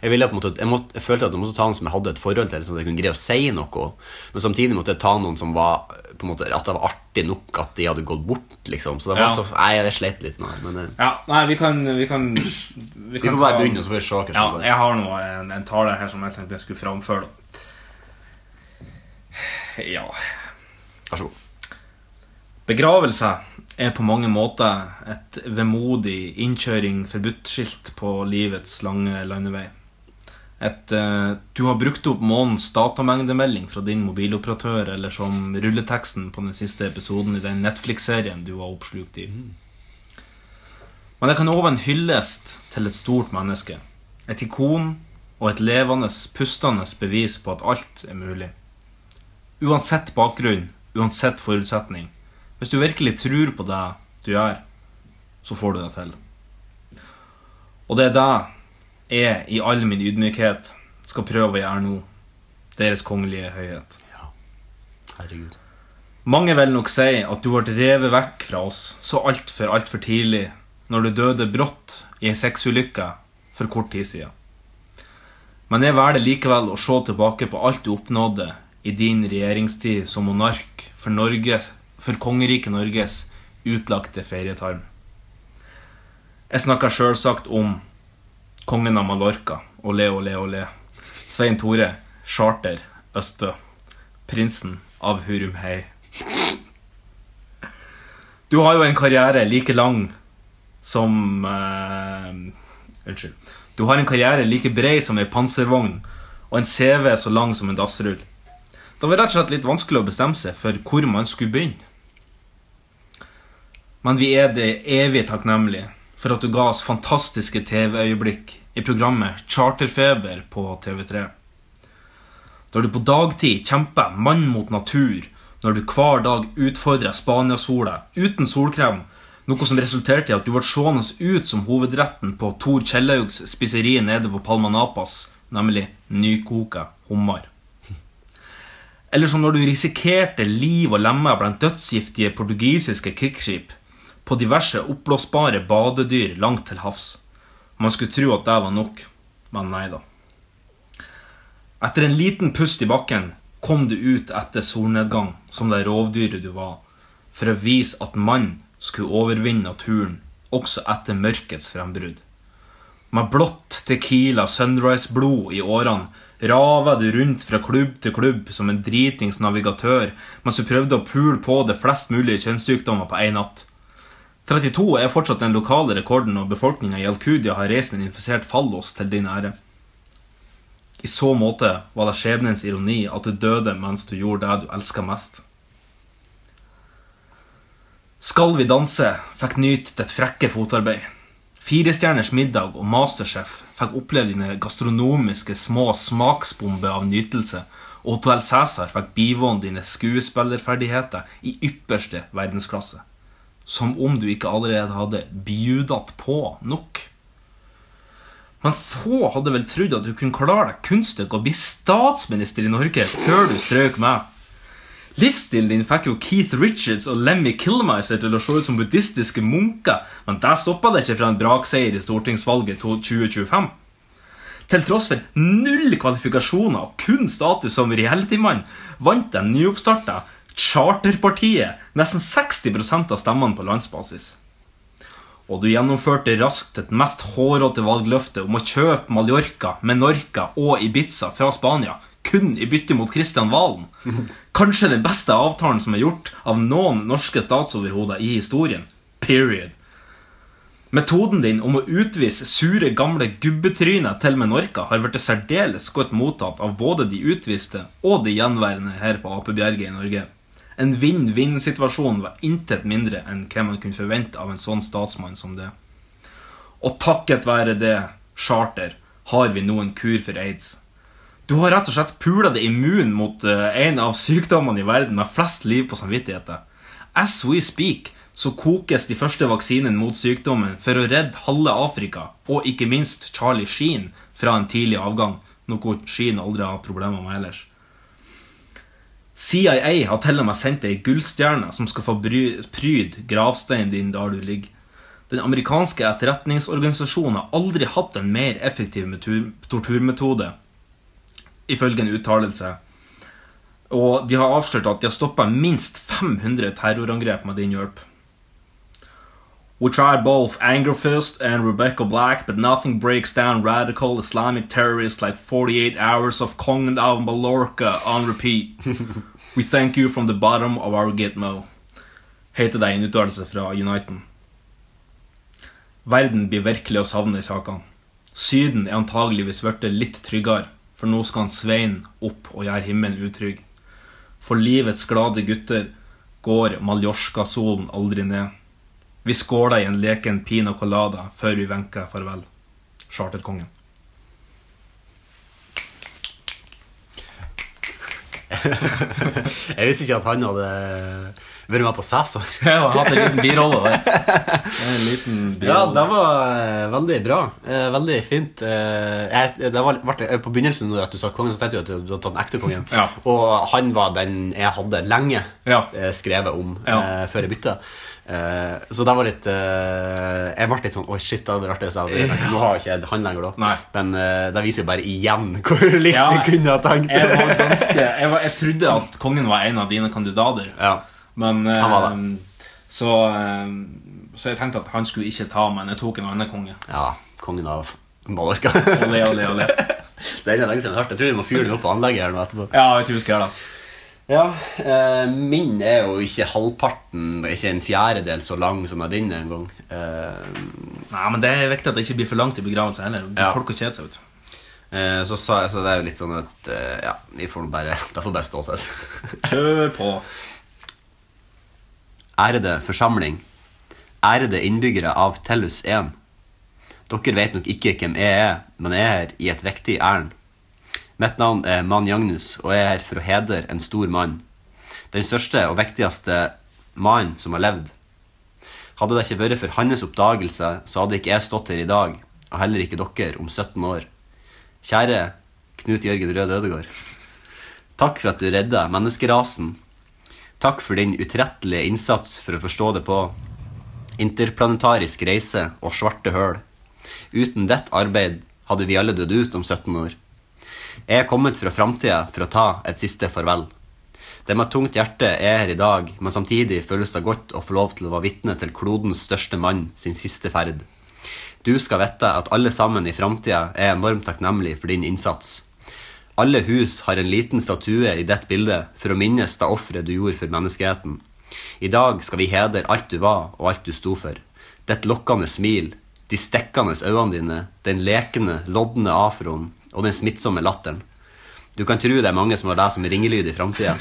C: jeg, ville på en måte, jeg, måtte, jeg følte at jeg måtte ta noen som jeg hadde et forhold til, sånn at jeg kunne greie å si noe. Men samtidig måtte jeg ta noen som var på en måte, At det var artig nok at de hadde gått bort, liksom. Så det var
B: Ja.
C: så Nei, jeg slet litt med det. Men eh,
B: Ja, nei, vi kan Vi, kan, vi,
C: vi
B: kan
C: får bare
B: ta-
C: begynne, og så får vi se hva
B: Ja,
C: som går.
B: jeg har nå en, en tale her som jeg tenkte jeg skulle framføre. da. Ja
C: Vær så god.
B: Begravelse er på mange måter et vemodig innkjøring forbudt-skilt på livets lange landevei. Et eh, 'du har brukt opp månedens datamengdemelding' fra din mobiloperatør, eller som rulleteksten på den siste episoden i den Netflix-serien du var oppslukt i. Men det kan òg være en hyllest til et stort menneske. Et ikon og et levende, pustende bevis på at alt er mulig. Uansett bakgrunn, uansett forutsetning. Hvis du virkelig tror på det du gjør, så får du det til. Og det er det jeg i all min ydmykhet skal prøve å gjøre nå. Deres kongelige høyhet.
C: Herregud.
B: Mange vil nok si at du ble revet vekk fra oss så altfor, altfor tidlig når du døde brått i ei sexulykke for kort tid siden. Men jeg velger likevel å se tilbake på alt du oppnådde i din regjeringstid som monark for, Norge, for kongeriket Norges utlagte ferietarm. Jeg snakker sjølsagt om kongen av Mallorca, olé, olé, olé. Svein Tore, charter, Østø. Prinsen av Hurumhei. Du har jo en karriere like lang som eh, Unnskyld. Du har en karriere like bred som ei panservogn og en CV så lang som en dassrull. Det var rett og slett litt vanskelig å bestemme seg for hvor man skulle begynne. Men vi er det evig takknemlige for at du ga oss fantastiske TV-øyeblikk i programmet Charterfeber på TV3. Når du på dagtid kjemper mann mot natur, når du hver dag utfordrer Spania-sola uten solkrem, noe som resulterte i at du ble seende ut som hovedretten på Tor Kjellhaugs spiseri nede på Palma Napas, nemlig nykoka hummer. Eller som når du risikerte liv og lemmer blant dødsgiftige portugisiske krigsskip på diverse oppblåsbare badedyr langt til havs. Man skulle tro at det var nok, men nei da. Etter en liten pust i bakken kom du ut etter solnedgang som det rovdyret du var, for å vise at mann skulle overvinne naturen også etter mørkets frembrudd. Med blått tequila sunrise-blod i årene rava du rundt fra klubb til klubb som en dritings navigatør mens du prøvde å pule på det flest mulig kjønnssykdommer på én natt. 32 er fortsatt den lokale rekorden, og befolkninga i Al-Qudia har reist en infisert fallos til din ære. I så måte var det skjebnens ironi at du døde mens du gjorde det du elska mest. Skal vi danse fikk nyte ditt frekke fotarbeid. Firestjerners middag og Masterchef fikk oppleve dine gastronomiske små smaksbomber av nytelse, og Hotell Cæsar fikk bivåne dine skuespillerferdigheter i ypperste verdensklasse. Som om du ikke allerede hadde bjudat på nok. Men få hadde vel trodd at du kunne klare deg kunststykket å bli statsminister i Norge før du strøk med. Livsstilen din fikk jo Keith Richards og Lemmy Kilmiser til å se ut som buddhistiske munker, men det stoppa deg ikke fra en brakseier i stortingsvalget to- 2025. Til tross for null kvalifikasjoner og kun status som realitymann, vant den nyoppstarta Charterpartiet nesten 60 av stemmene på landsbasis. Og du gjennomførte raskt et mest hårete valgløfte om å kjøpe Mallorca, Menorca og Ibiza fra Spania, kun i bytte mot Kristian Valen. Kanskje den beste avtalen som er gjort av noen norske statsoverhoder i historien. Period. Metoden din om å utvise sure, gamle gubbetryner til Menorca har blitt særdeles godt mottatt av både de utviste og de gjenværende her på Apebjerget i Norge. En vinn-vinn-situasjon var intet mindre enn hva man kunne forvente av en sånn statsmann som det. Og takket være det, charter, har vi nå en kur for aids. Du har rett og slett pula deg immun mot eh, en av sykdommene i verden med flest liv på samvittigheten. As we speak så kokes de første vaksinene mot sykdommen for å redde halve Afrika, og ikke minst Charlie Sheen, fra en tidlig avgang, noe Sheen aldri har problemer med ellers. CIA har til og med sendt ei gullstjerne som skal få bry- pryd gravsteinen din der du ligger. Den amerikanske etterretningsorganisasjonen har aldri hatt en mer effektiv metu- torturmetode, ifølge en uttalelse. Og de har avslørt at de har stoppa minst 500 terrorangrep med din hjelp. We tried both Angerfist and Rebecca Black, but nothing breaks down radical Islamic terrorists like 48 hours of Kong and of Mallorca on repeat. We thank you from the bottom of our gitmo. Heter det i en uttalelse fra Uniten. Verden blir virkelig å savne Kjakan. Syden er antageligvis blitt litt tryggere, for nå skal han Svein opp og gjøre himmelen utrygg. For livets glade gutter går Mallorca-solen aldri ned. Vi skåla i en leken pina colada før vi venka farvel. *laughs* Charterkongen.
C: Jeg visste ikke at han hadde vært med på Cæsar.
B: Jeg har hatt en liten birolle der. Det er En liten
C: Ja,
B: birolle.
C: det var eh, veldig bra. Eh, Veldig fint. Eh, Jeg, det var, ble, eh, på begynnelsen når at du sa kongen, så tenkte jeg at du, du hadde tatt den ekte kongen.
B: Ja.
C: Og han var den jeg hadde lenge
B: Ja.
C: eh, skrevet om
B: Ja.
C: eh, før jeg bytta. Eh, så det var litt eh, Jeg ble litt sånn Oi, shit, det hadde vært det jeg sa. Nå har jeg ikke han lenger, da.
B: Nei.
C: Men eh, det viser jo bare igjen *laughs* hvor litt
B: Ja,
C: jeg kunne ha tenkt.
B: *laughs* jeg, var ganske, jeg, var, jeg trodde at kongen var en av dine kandidater,
C: *laughs* ja.
B: men eh,
C: Han var
B: så, eh, så jeg tenkte at han skulle ikke ta, men jeg tok en annen konge.
C: ja. Kongen av Mallorca. *laughs*
B: Olé, olé, olé. *laughs*
C: Det er lenge siden jeg har hørt. Jeg tror vi må fyre den opp på anlegget her nå etterpå.
B: Ja, vet du hva jeg skal gjøre, da?
C: Ja, eh, min er jo ikke halvparten, ikke en fjerdedel så lang som er din engang. Eh,
B: Nei, men Det er viktig at det ikke blir for langt i begravelse heller.
C: Ja.
B: Folk har kjedet seg. vet du.
C: eh, så, sa jeg- så det er jo litt sånn at eh, Ja, vi får nå bare, *laughs* det får bare stå selv.
B: Kjør på.
C: Ærede forsamling. Ærede innbyggere av Tellus 1. Dere vet nok ikke hvem jeg er, men jeg er her i et viktig ærend. Mitt navn er Mann Jagnus, og jeg er her for å hedre en stor mann. Den største og viktigste mannen som har levd. Hadde det ikke vært for hans oppdagelse, så hadde ikke jeg stått her i dag, og heller ikke dere om 17 år. Kjære Knut Jørgen Rød Ødegård. Takk for at du redda menneskerasen. Takk for din utrettelige innsats for å forstå det på. Interplanetarisk reise og svarte høl. Uten ditt arbeid hadde vi alle dødd ut om 17 år. Jeg er kommet fra framtida for å ta et siste farvel. Det er med tungt hjerte jeg er her i dag, men samtidig føles det godt å få lov til å være vitne til klodens største mann sin siste ferd. Du skal vite at alle sammen i framtida er enormt takknemlig for din innsats. Alle hus har en liten statue i ditt bilde for å minnes det offeret du gjorde for menneskeheten. I dag skal vi hedre alt du var og alt du sto for. Ditt lokkende smil, de stikkende øynene dine, den lekende, lodne afroen og den smittsomme latteren. Du kan tro det er mange som har deg som ringelyd i framtida.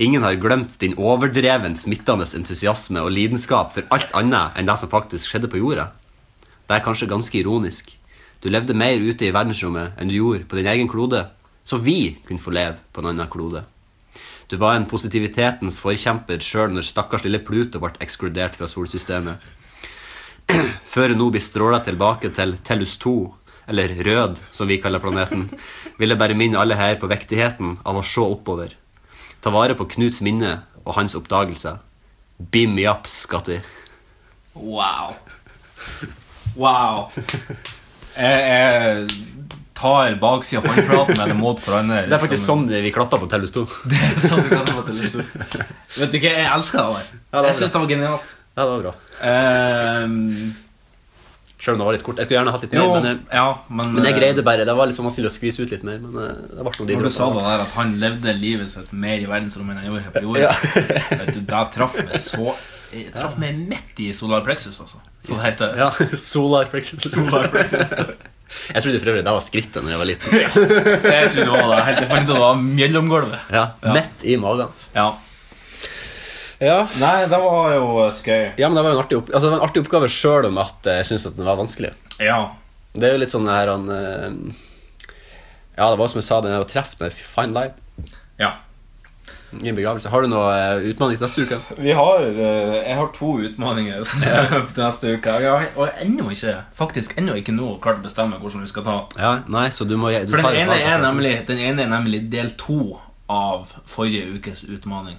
C: Ingen har glemt din overdreven smittende entusiasme og lidenskap for alt annet enn det som faktisk skjedde på jorda. Det er kanskje ganske ironisk. Du levde mer ute i verdensrommet enn du gjorde på din egen klode, så vi kunne få leve på en annen klode. Du var en positivitetens forkjemper sjøl når stakkars lille Pluto ble ekskludert fra solsystemet. *clears throat* Før hun nå blir stråla tilbake til Tellus 2, eller Rød, som vi kaller planeten, vil jeg bare minne alle her på viktigheten av å se oppover. Ta vare på Knuts minne og hans oppdagelse. Beam me up, Skatti.
B: Wow. Wow. Jeg, jeg tar baksida av håndflaten eller mot hverandre. liksom.
C: Det er faktisk sånn vi klapper på Tellus 2.
B: Det er sånn vi kan få til litt stort. Vet du hva, jeg elsker det der.
C: Ja, det var
B: jeg syns det var genialt.
C: Ja, det var bra.
B: Ehm,
C: Selv om det var litt kort. Jeg skulle gjerne hatt litt
B: jo,
C: mer, men, jeg-
B: ja, men,
C: men jeg greide bare. Det var liksom vanskelig å skvise ut litt mer, men eh, det ble noe de
B: Når du sa
C: dråpene.
B: det der at han levde livet sitt mer i verdensrommet enn han gjorde her på jorda,
C: Ja.
B: vet du, da traff meg
C: *laughs*
B: så jeg traff meg midt i solar plexus, altså. Så det heter
C: Ja, *laughs* solar plexus.
B: solar plexus.
C: *laughs* Jeg trodde for øvrig det var skrittet når jeg var liten.
B: Jeg trodde det var det. Helt til jeg fant ut at det var mellomgulvet.
C: Ja, Mett i magen.
B: Ja.
C: Ja.
B: Nei, det var jo uh, skøy.
C: men Det var jo en artig, opp altså, det var en artig oppgave sjøl om at eh, jeg syntes at den var vanskelig.
B: Ja.
C: Det er jo litt sånn det her han eh, Ja, det var som jeg sa, den her å treffe den her fine line
B: ja.
C: i en begravelse. Har du noe eh, utfordring til neste uke?
B: Vi har, eh, jeg har to utfordringer til neste uke. Jeg har, og ennå ikke faktisk ennå ikke nå klart å bestemme hvordan vi skal ta.
C: Ja, Nei, så du må du
B: For
C: tar
B: den
C: et
B: ene, er
C: par-
B: nemlig, den ene er nemlig del to av forrige ukes utfordring.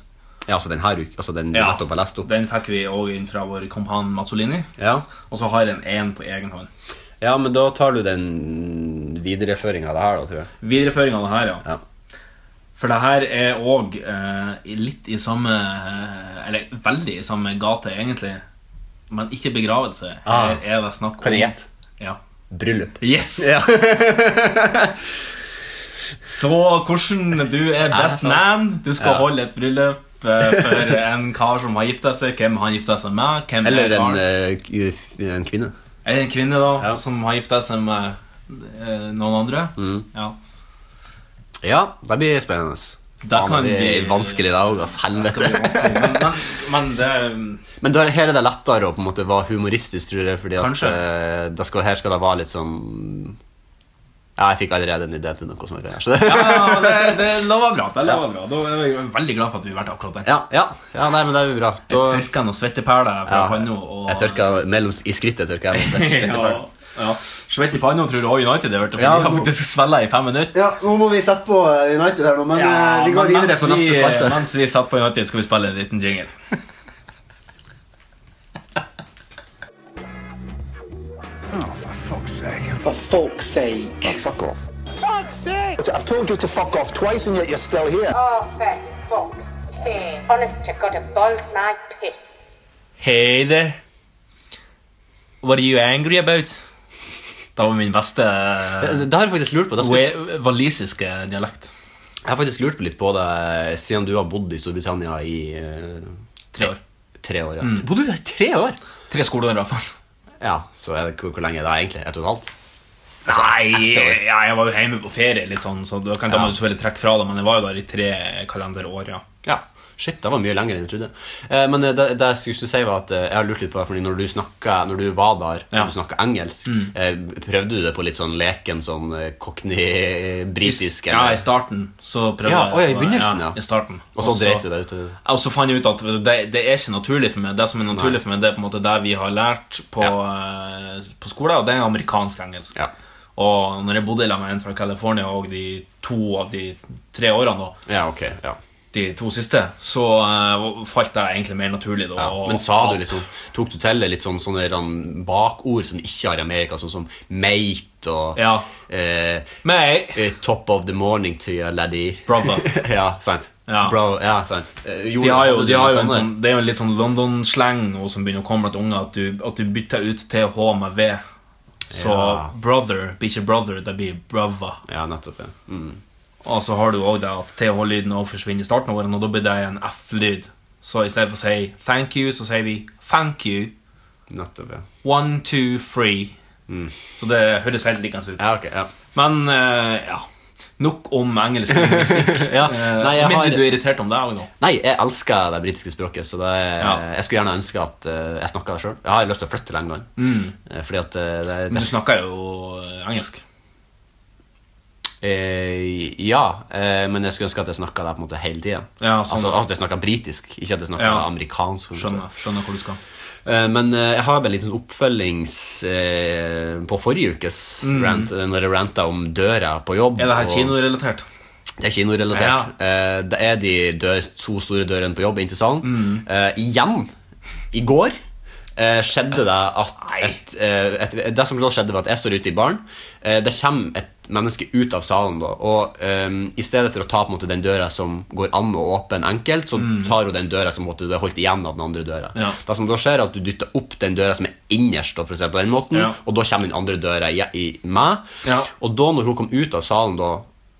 C: Ja, altså den her uka. Altså den du
B: Ja.
C: nettopp har lest opp.
B: Den fikk vi òg inn fra vår kompan Mazzolini.
C: Ja.
B: Og så har jeg en én på egen hånd.
C: Ja, men da tar du den videreføringa av det her, da, tror jeg.
B: Videreføring av det her, ja.
C: Ja.
B: For det her er òg eh, i litt i samme eh, Eller veldig i samme gate, egentlig. Men ikke begravelse.
C: Ah.
B: Her er det snakk om
C: Kan jeg gjette?
B: Ja.
C: Bryllup.
B: Yes! *laughs*
C: *laughs*
B: så hvordan du er best man. Du skal holde et bryllup eh,
C: *laughs*
B: for en kar som har gifta seg. Hvem han gifta seg med? Hvem er
C: Eller en,
B: karen?
C: eh, k- en kvinne.
B: Er det en kvinne da,
C: Ja.
B: som har gifta seg med eh, noen andre?
C: Mm.
B: Ja.
C: Ja, det blir spennende.
B: Da kan
C: det blir
B: vi-
C: vanskelig, det òg.
B: Det skal
C: Helvete.
B: bli vanskelig. Men, men, men det mm,
C: Men da, her er det lettere å på en måte være humoristisk, tror jeg. Fordi at
B: Kanskje.
C: eh, da skal, her skal det være litt sånn Ja, jeg fikk allerede en idé til noe som jeg kan gjøre. Så det,
B: Ja, det, det, det var bra. Det var bra. Da er jeg veldig glad for at vi har vært akkurat der.
C: *laughs* ja, ja, ja, nei, men det er jo bra. Da,
B: Tørka noen svetteperler fra
C: ja,
B: panna. Og...
C: jeg
B: *laughs*
C: tørka mellom i skrittet. tørka jeg med svette-
B: ja,
C: svetteperlen.
B: ja. Svett i panna tror jeg United er verdt, for
I: Ja,
B: de har
I: nå-
B: faktisk spilla i fem minutter.
I: Ja, nå må vi sette på eh, United her nå, men eh, vi går
B: men
I: videre
B: mens
I: på neste
B: vi-
I: spalte.
B: Mens vi satt på United, skal vi spille en liten jingle.
A: For folk's sake. fuck off. I've told you to fuck off twice and yet you're still here.
J: Oh, for fuck's sake. Honest to God, it boils my piss.
B: Hey there. What are you angry about? Det var
I: *laughs*
B: min beste eh,
C: Det det har jeg faktisk lurt på. Da skal jeg-
B: we- walisiske dialekt.
C: jeg har faktisk lurt på litt på det siden du har bodd i Storbritannia i eh,
B: Tre år.
C: tre år. Ja. Bodde du der i tre år?
B: Tre skoleår, i hvert fall.
C: Ja, så er det, hvor, hvor lenge er det egentlig? Ett og et halvt?
B: Nei,
C: Altså, ett år.
B: ja, jeg var jo hjemme på ferie, litt sånn, så da kan da må du selvfølgelig trekke fra det, men jeg var jo der i tre kalenderår, ja.
C: Ja. Shit, det var mye lenger enn jeg trodde. Eh, men eh, det, det jeg skulle si var at eh, jeg har lurt litt på det, fordi når du, snakket, når du var der,
B: Ja.
C: når du snakket engelsk, eh, prøvde du det på litt sånn leken sånn eh, cockney-britisk?
B: Ja,
C: eller?
B: i starten. Så prøvde
C: Ja,
B: jeg
C: å, ja, i begynnelsen, ja.
B: I starten.
C: og så dreit du deg ut? eh.
B: Og så fant jeg ut at det, det er ikke naturlig for meg. Det som er naturlig
C: Nei.
B: for meg, det er på en måte det vi har lært på, eh, på skolen, og det er amerikansk engelsk.
C: Ja.
B: Og når jeg bodde sammen med en fra California og de to av de tre årene, da,
C: Ja, ok. Ja.
B: de to siste, så eh, falt det egentlig mer naturlig. Da,
C: Ja.
B: og-
C: Men sa du liksom Tok du til deg litt sånn, sånne sånn bakord som de ikke har i Amerika, sånn som mate og
B: Ja.
C: eh,
B: Meg,
C: eh, Top of the morning to your lady.
B: brother.
C: *laughs* ja, sant.
B: Ja.
C: Bro, ja, sant. Eh,
B: De
C: Jordan,
B: har jo,
C: hadde
B: de
C: du
B: har
C: noe
B: jo en
C: sånt der?
B: sånn, det er jo en litt sånn London-sleng nå som begynner å komme blant unge, at du, at du bytter ut TH med V. Så
C: Ja.
B: brother blir ikke brother, det blir brother.
C: Ja, nettopp. Ja. Mm.
B: Og så har du også det at TH-lyden også forsvinner i starten av årene, og da blir det en F-lyd. Så i stedet for å si thank you, så sier vi thank you.
C: Nettopp, ja.
B: One, two, three. Så det høres helt likende ut.
C: Ja, ok. Ja.
B: Men eh, ja. Nok om *laughs* engelsk lingvistikk.
C: ja.
B: Eh,
C: Nei, jeg
B: mindre
C: har...
B: du er irritert om det òg nå.
C: Nei, jeg elsker det britiske språket, så det er...
B: Ja.
C: jeg skulle gjerne ønske at eh, jeg snakka det sjøl. Jeg har lyst til å flytte til England. Eh, Fordi at eh, det,
B: Mm. Men
C: det
B: du snakker jo eh, engelsk.
C: eh, Ja, eh, men jeg skulle ønske at jeg snakka det på en måte hele tida.
B: Ja, sånn.
C: Altså at jeg snakka britisk, ikke at jeg snakka
B: Ja.
C: amerikansk. for å si det. sånn.
B: Skjønner, skjønner hvor du skal.
C: Eh, Men eh, jeg har bare en liten oppfølgings eh, på forrige ukes rant, eh, når jeg ranta om døra på jobb.
B: Mm. Er det her
C: og-
B: kinorelatert?
C: Det er kinorelatert. Eh, det er de dør, to store dørene på jobb inn til salen.
B: Mm.
C: Eh, igjen, i går, eh, skjedde det at et, eh, et, Det som skjedde, var at jeg står ute i baren. Eh, det kommer et menneske ut av salen, da, og eh, i stedet for å ta på en måte den døra som går an å åpne enkelt, så tar hun den døra som på en måte, du har holdt igjen av den andre døra.
B: Mm. Ja.
C: Det som da skjer, er at du dytter opp den døra som er innerst, da, for å si det på den måten,
B: Ja.
C: og da kommer den andre døra i, i meg.
B: Ja.
C: Og da når hun kom ut av salen da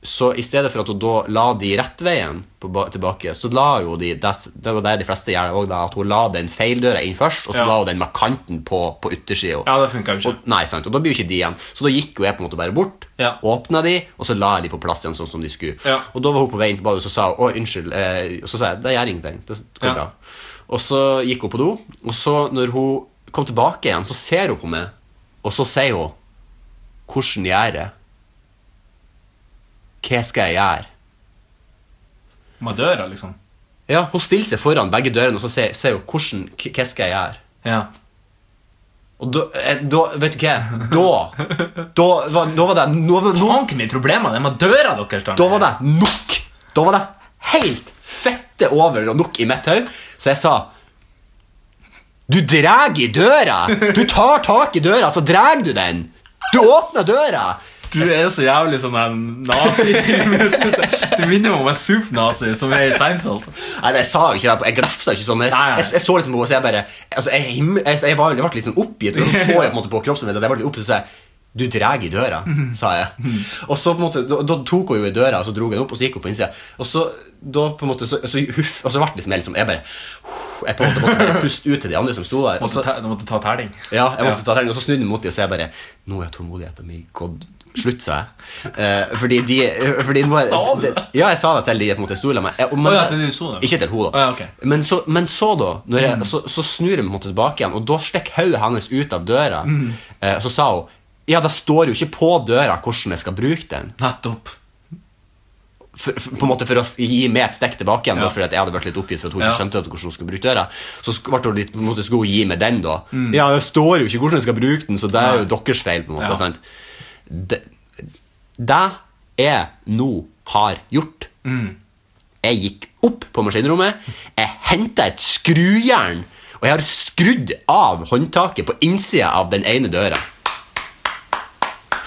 C: så i stedet for at hun da la de rett veien på, ba- tilbake, så la jo de det, det var det de fleste gjør også, da, at hun la den feildøra inn først, og så
B: Ja.
C: la hun den med kanten på, på yttersida.
B: Ja, det funka jo ikke.
C: Og, nei, sant, og da blir jo ikke de igjen. Så da gikk jo jeg på en måte bare bort,
B: Ja.
C: åpna de, og så la jeg de på plass igjen sånn som de skulle.
B: Ja.
C: Og da var hun på vei inn på badet og så sa hun, å, unnskyld. Eh, og så sa jeg det gjør ingenting. Det går
B: Ja.
C: bra. Og så gikk hun på do, og så når hun kom tilbake igjen, så ser hun på meg, og så sier hun hvordan gjør jeg? Hva skal jeg gjøre?
B: Med døra, liksom.
C: Ja, Hun stiller seg foran begge dørene og så sier sier hun hvordan, hva skal jeg gjøre?
B: Ja.
C: Og da, eh, da Vet du hva? Da Da var, da var det nå var det- nå-
B: Faen, hvor mye problemer det er med døra deres.
C: Da var det nok. Da var det helt fette over og nok i mitt hode. Så jeg sa Du drar i døra! Du tar tak i døra, så drar du den! Du åpner døra!
B: Du er så jævlig sånn en
C: *laughs*
B: nazi. du minner meg om en supernazi som er i Seinfeld.
C: Nei, jeg sa jo ikke det. Jeg glefsa ikke sånn. Jeg,
B: Nei, nei.
C: jeg, jeg så liksom på henne, så jeg bare altså, jeg, himmel- jeg, jeg, var, jeg ble litt sånn oppgitt. Og så så jeg på en måte på kroppsspråket at jeg ble litt oppgitt, så sa jeg du drar i døra, sa jeg. Og så på en måte, da, da tok hun jo i døra, og så dro hun den opp, og så gikk hun på innsida. Og så da på en måte, så, så huff, og så ble det liksom jeg liksom Jeg bare Jeg på en måte måtte bare puste ut til de andre som sto der. Og
B: Måtte
C: så,
B: ta, du måtte ta terning.
C: ja, jeg måtte ta terning, og så snudde jeg mot dem og så jeg bare Nå er tålmodigheten min gått slutt, sa jeg. Eh, fordi de eh, fordi nå er,
B: Sa du det?
C: Ja, jeg sa det til de på en måte sto sammen med meg. Jeg- og- men-
B: Å ja, til de sto der.
C: Ikke til henne, da.
B: Å ja, ok. Mm.
C: men, så, men så, da, når jeg,
B: Mm.
C: så, så snur jeg meg på en måte tilbake igjen, og da stikker hodet hennes ut av døra. Eh, så sa hun Ja, det står jo ikke på døra hvordan jeg skal bruke den.
B: Nettopp.
C: For, for, på en måte for å s- gi meg et stekk tilbake igjen,
B: Ja.
C: da, fordi at jeg hadde vært litt oppgitt for at hun
B: Ja.
C: ikke skjønte at hvordan hun skulle bruke døra. Så sk- ble hun litt, på en måte skulle hun gi meg den, da.
B: Mm.
C: Ja, det står jo ikke hvordan jeg skal bruke den, så det er jo deres feil, på en måte.
B: Ja.
C: sant? Det, det jeg nå har gjort
B: Mm.
C: Jeg gikk opp på maskinrommet, jeg henta et skrujern, og jeg har skrudd av håndtaket på innsida av den ene døra.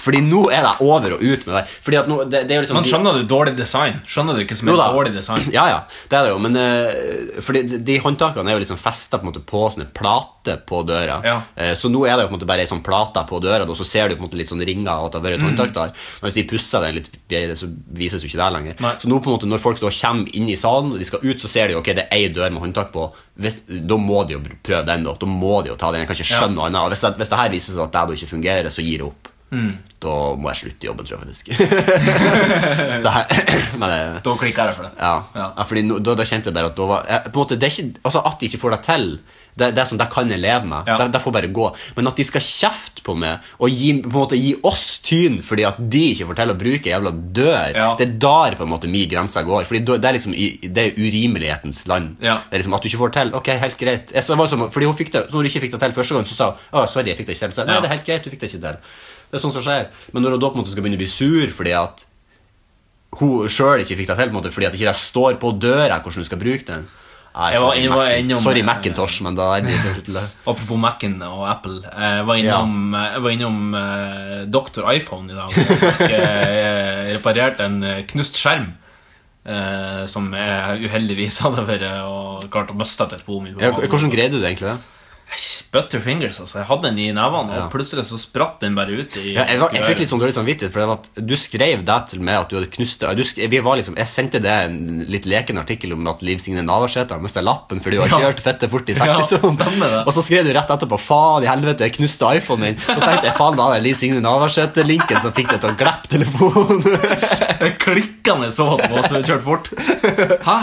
C: Fordi nå er det over og ut med det. Fordi at nå, det, det er jo liksom
B: Men skjønner du dårlig design? Skjønner du ikke som er
C: Jo da.
B: dårlig design?
C: *clears throat* Ja, ja, det er det jo, men eh, Fordi de- de håndtakene er jo liksom festa på, en måte på sånne plater på døra. Eh, så nå er det jo på en måte bare ei sånn plate på døra, og så ser du på en måte litt sånn ringer av at det har vært et
B: Mm.
C: håndtak der. Men hvis de pusser den litt bedre, så vises jo ikke det lenger.
B: Nei.
C: Så nå på en måte når folk da kommer inn i salen, og de skal ut, så ser de jo ok, det er ei dør med håndtak på. Hvis, da må de jo prøve den, da. Da må de jo ta den. Jeg kan ikke skjønne noe annet. Og hvis det, hvis det her viser seg at det da ikke fungerer, så gir jeg opp.
B: Mm.
C: Da må jeg slutte i jobben, tror jeg faktisk. *laughs* det her, *clears throat* men eh, det,
B: Da klikker jeg for det.
C: ja. ja. fordi nå- da, da kjente jeg bare at da var jeg, på en måte, det er ikke, altså At de ikke får det til, det, det er sånn, det kan jeg leve med. Det, det får bare gå. Men at de skal kjefte på meg og gi, på en måte, gi oss tyn fordi at de ikke får til å bruke jævla dør, det er der på en måte min grense går. Fordi da- det er liksom i- det er urimelighetens land. Det er liksom At du ikke får til. Ok, helt greit. Jeg, så, det var som, fordi hun fikk det, så når hun ikke fikk det til første gang, så sa hun «Å, sorry, jeg fikk det ikke til. Så, jeg, Nei,
B: Ja.
C: det er helt greit, du fikk det ikke til. Det er sånn som skjer. Men når hun da på en måte skal begynne å bli sur fordi at hun sjøl ikke fikk det til, på en måte, fordi at ikke det står på døra hvordan du skal bruke den. Nei,
B: Jeg var-
C: sorry,
B: jeg var
C: Macin-
B: innom-
C: sorry, Macintosh, men da er det ikke til det.
B: Apropos Mac-en og Apple. eh, Jeg var innom, jeg var innom eh, Dr. iPhone i dag og fikk eh, reparert en eh, knust skjerm. eh, som jeg uheldigvis hadde vært og klart å miste telefonen min. på
C: Ja,
B: banen.
C: Hvordan greide du det egentlig? det?
B: Æsj, Butterfingers, altså. Jeg hadde den i nevene, og
C: Ja.
B: plutselig så spratt den bare ut. i
C: Ja, jeg, var, jeg fikk litt sånn dårlig samvittighet, for det var at du skrev det til meg at du hadde knust det. og Du sk vi var liksom, jeg sendte deg en litt leken artikkel om at Liv Signe Navarsete har mista lappen fordi hun har
B: Ja.
C: kjørt fette fort i
B: Ja,
C: 60-sonen. og så skrev du rett etterpå 'faen i helvete, jeg knuste iPhonen min'. Og så tenkte jeg faen, var det Liv Signe Navarsete-linken som fikk deg til å glippe telefonen? *laughs*
B: Klikkende sånn så at den også kjørte fort. Hæ?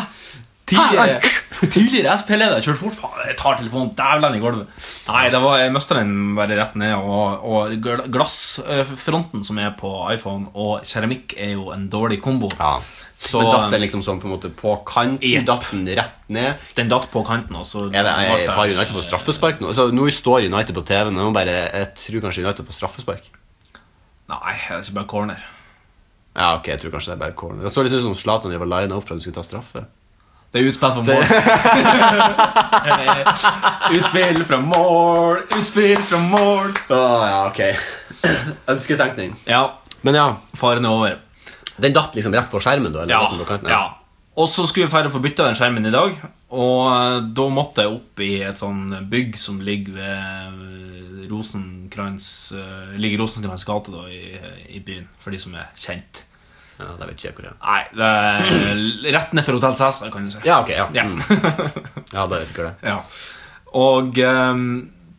B: Tidligere, tidligere SP-leder kjørte fort. Faen, jeg tar telefonen dævlen i gulvet. Nei, det var, jeg mista den bare rett ned. Og, og gl- glassfronten som er på iPhone, og keramikk er jo en dårlig kombo. um,
C: Men datt den liksom sånn på en måte på kanten? Datt den rett ned?
B: Den datt på kanten, og så
C: Er det,
B: ble
C: jeg, har United fått straffespark nå? Altså, nå står United på TV, nå bare, jeg tror kanskje United får straffespark.
B: Nei, det er ikke bare corner.
C: Ja, ok, jeg tror kanskje det er bare corner. Det så litt ut som Zlatan drev og lina opp for at du skulle ta straffe.
B: Det er utspill fra mål. *laughs* utspill fra mål, utspill fra mål.
C: Å ja, ok. *coughs* Ønsketenkning.
B: Ja.
C: Men ja.
B: Faren er over.
C: Den datt liksom rett på skjermen, da? Eller datt den på kanten?
B: ja. Og så skulle vi ferdig få bytta den skjermen i dag, og eh, da måtte jeg opp i et sånn bygg som ligger ved Rosenkrantz eh, Ligger Rosenkrantz gate da i, i byen, for de som er kjent.
C: Ja, det vet ikke jeg hvor det er.
B: Nei, det er rett ned for Hotell Cæsar, kan du si.
C: Ja, ok, ja. Mm. Ja, da vet jeg hvor det er.
B: *laughs* Ja. Og um,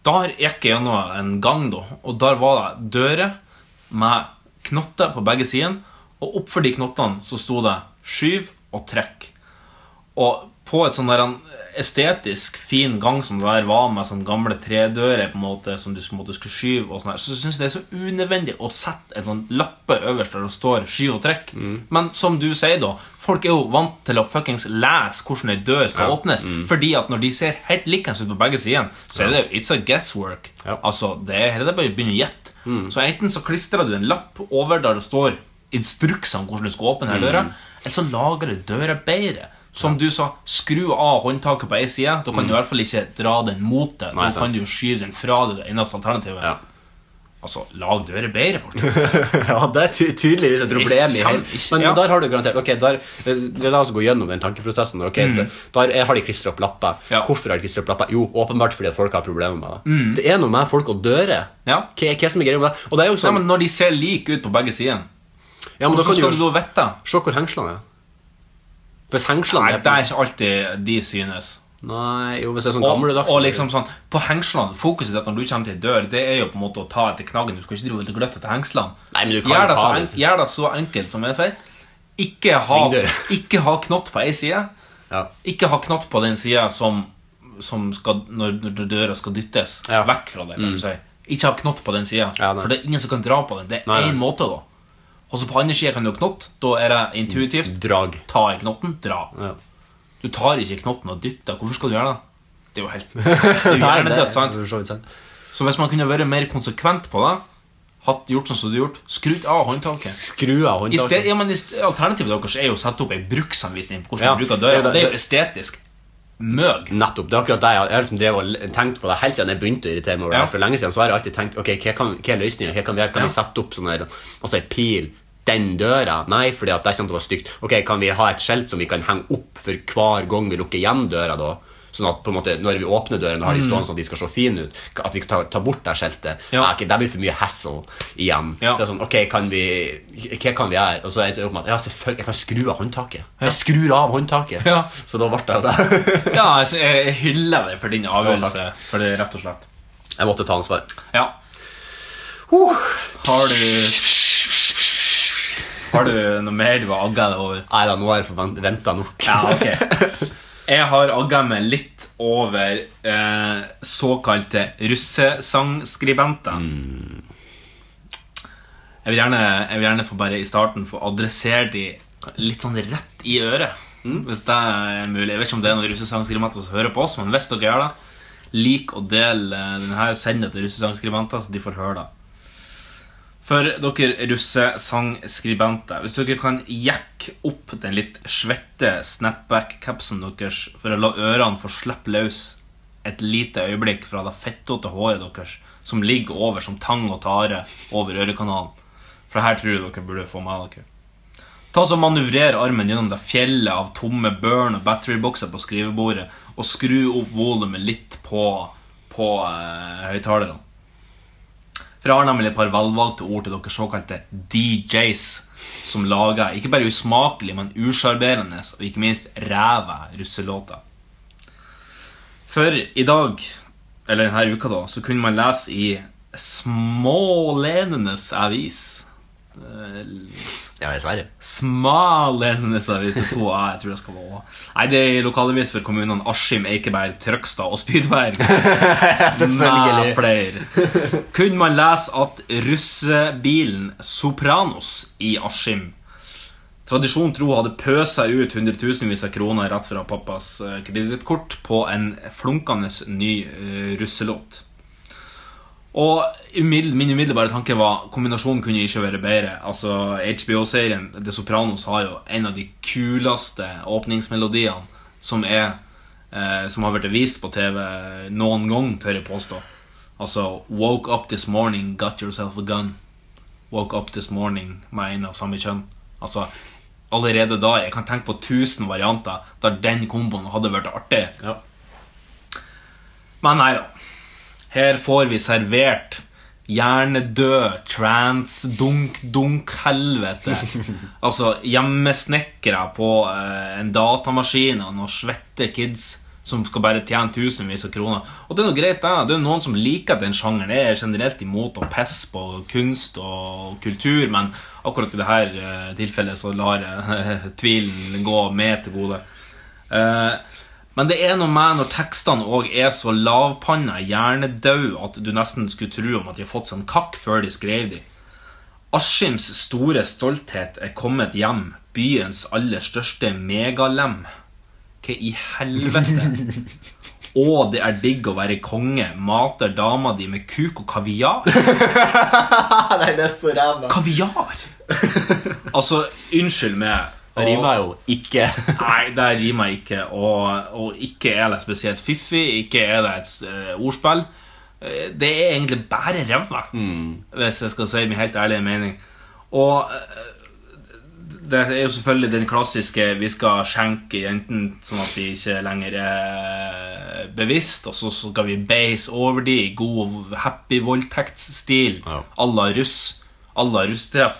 B: der gikk jeg gjennom en gang, da. Og der var det dører med knotter på begge sider. Og oppfor de knottene så sto det 'skyv og trekk'. Og på et sånn der en estetisk fin gang som det der var, med sånn gamle tredører på en måte som du på en måte skulle skyve, og sånn her, så syns jeg det er så unødvendig å sette en sånn lappe øverst der det står 'skyv og trekk'. Men som du sier, da, folk er jo vant til å fuckings lese hvordan ei dør skal åpnes. Fordi at når de ser helt likens ut på begge sider, så er det jo it's a guesswork. Altså, det er her er det bare å begynne å gjette. Så enten så klistrer du en lapp over der det står instrukser om hvordan du skal åpne denne døra,
C: Mm.
B: eller så lager du døra bedre. Som du sa, skru av håndtaket på ei side. Da kan du i hvert fall ikke dra den mot deg.
C: Mm. Nei,
B: Da
C: sant.
B: kan du jo skyve den fra deg. Det eneste alternativet. Altså, lag døra bedre,
C: *laughs*
B: folkens.
C: ja, det er ty tydeligvis et problem. i
B: Ikke
C: hele-
B: sant?
C: Men
B: Ja.
C: der har du garantert Ok, der, eh, La oss gå gjennom den tankeprosessen. Ok,
B: Mm.
C: det- Der er- har de klistra opp lapper. Hvorfor har de klistra opp lapper? Jo, åpenbart fordi at folk har problemer med det.
B: Mm.
C: Det er noe med folk og dører.
B: Ja.
C: Hva, hva som er greia med det? Og det er jo sånn
B: Nei, men når de ser like ut på begge sider,
C: Ja, men da
B: hvordan
C: kan
B: skal
C: du
B: du da vite?
C: Se hvor hengslene er. Hvis hengslene
B: Nei,
C: er
B: det er ikke alltid de synes.
C: Nei, jo, hvis det er sånn
B: Og,
C: gamledags
B: og liksom sånn, på hengslene, Fokuset ditt når du kommer til ei dør, det er jo på en måte å ta etter knaggen. Du skal ikke drive og gløtte etter hengslene.
C: Nei, men du kan
B: Gjør det,
C: ta
B: så
C: det.
B: enk- gjør det så enkelt som jeg sier. Ikke ha,
C: *laughs* Svingdør.
B: ikke ha knott på ei side.
C: Ja.
B: Ikke ha knott på den sida som, som skal, når, når døra skal dyttes vekk fra deg. kan
C: Mm.
B: du si. ikke ha knott på den sida. for det er ingen som kan dra på den. Det
C: Nei,
B: er
C: nei.
B: én måte, da. Og så på andre sida kan du ha knott. Da er det intuitivt.
C: Drag.
B: Ta i knotten, dra. Du tar ikke knotten og dytter. Hvorfor skal du gjøre det? Det er jo *laughs* helt det er jo
C: Nei, det er
B: hjernedødt, sant? Så hvis man kunne vært mer konsekvent på det, hatt gjort sånn som du har gjort, skrudd av håndtaket
C: Skru av
B: I sted,
C: håndtaket.
B: ja, men i sted, alternativet deres er jo å sette opp ei bruksanvisning på hvordan
C: Ja.
B: du bruker døra.
C: Ja, det-
B: Det er jo
C: det-
B: estetisk. Møg.
C: Nettopp. Det er akkurat det jeg har- jeg har liksom drevet og l- tenkt på det helt siden jeg begynte å irritere meg over det.
B: Ja.
C: her. For lenge siden så har jeg alltid tenkt Ok, hva, kan, hva er løsningen? Hva kan vi gjøre? Kan vi sette opp sånn her Altså en pil den døra? Nei, fordi at det kommer til å være stygt. Ok, Kan vi ha et skjelt som vi kan henge opp for hver gang vi lukker igjen døra, da? Sånn at på en måte når vi åpner døren, da har de
B: Mm.
C: stående sånn at de skal se fine ut. At vi kan ta, ta bort det skjeltet.
B: Ja.
C: Nei, ok, det blir for mye hassle igjen. Det er sånn, ok, kan vi, Hva kan vi gjøre? Og så er jeg opp med at ja, selvfølgelig, jeg kan skru av håndtaket. Jeg skrur av håndtaket. Så da ble det jo
B: *laughs*
C: det. *laughs*
B: Ja, altså, jeg hyller deg for din avgjørelse.
C: Ja,
B: for det, rett og slett.
C: Jeg måtte ta ansvar.
B: Ja. Har du Har du noe mer du har agga deg over?
C: Nei da, nå har jeg venta nok.
B: Ja, ok Jeg har agga meg litt over eh, såkalte russesangskribenter. Jeg, vil gjerne, jeg vil gjerne få bare i starten få adressere de litt sånn rett i øret. Hvis det er mulig. Jeg vet ikke om det er noen russesangskribenter som hører på oss, men hvis dere gjør det, lik og del eh, den her, send det til russesangskribenter, så de får høre det. For dere russesangskribenter, hvis dere kan jekke opp den litt svette snapback-capsen deres for å la ørene få slippe løs et lite øyeblikk fra det fettete håret deres som ligger over som tang og tare over ørekanalen For det her tror jeg dere burde få med dere. Ta så Manøvrer armen gjennom det fjellet av tomme burn og batterybokser på skrivebordet, og skru opp volumet litt på, på eh, høyttalerne. For jeg har nemlig et par velvalgte ord til dere såkalte DJs, som lager ikke bare usmakelige, men usjarmerende og ikke minst ræva russelåter. For i dag, eller denne uka, da, så kunne man lese i Smålenenes avis
C: *laughs*
B: Eh,
C: Ja, dessverre.
B: Smalenenes avis. Det er to A, jeg tror det skal være Å. Nei, det er lokalavis for kommunene Askim, Eikeberg, Trøgstad og Spydberg. Selvfølgelig. Med flere. Kunne man lese at russebilen Sopranos i Askim Tradisjon tro hadde pøsa ut hundretusenvis av kroner rett fra pappas eh, kredittkort på en flunkende ny eh, russelåt. Og umiddel- min umiddelbare tanke var kombinasjonen kunne ikke være bedre. Altså HBO-serien The Sopranos har jo en av de kuleste åpningsmelodiene som er eh, Som har vært vist på TV noen gang, tør jeg påstå. Altså Woke up this morning, got yourself a gun. Woke up this morning med en av samme kjønn. Altså Allerede da Jeg kan tenke på 1000 varianter der den komboen hadde vært artig. Men nei da. Her får vi servert hjernedød trans-dunk-dunk-helvete. altså hjemmesnekkere på eh, en datamaskin og noen svette kids som skal bare tjene tusenvis av kroner. Og det er noe greit, det. Det er noen som liker den sjangeren. Jeg er generelt imot å pisse på kunst og kultur, men akkurat i dette tilfellet så lar jeg *laughs* tvilen gå med til gode. Eh, men det er noe med når tekstene òg er så lavpanna, hjernedau, at du nesten skulle tro om at de har fått seg en kakk før de skrev de. Askims store stolthet er kommet hjem, byens aller største megalem. Hva i helvete? Og det er digg å være konge, mater dama di med kuk og kaviar.
C: Ah,
I: Nei, det er så ræva.
B: Kaviar? Altså, unnskyld meg.
C: Det rimer jo ikke.
B: Nei, det rimer ikke. Og, og ikke er det spesielt fiffig, ikke er det et eh, ordspill. Eh, Det er egentlig bare ræva, hvis jeg skal si min helt ærlige mening. Og eh, det er jo selvfølgelig den klassiske 'vi skal skjenke jentene sånn at de ikke lenger er bevisst', og så skal vi beise over de i god happy voldtektsstil à la russ. À la russtreff.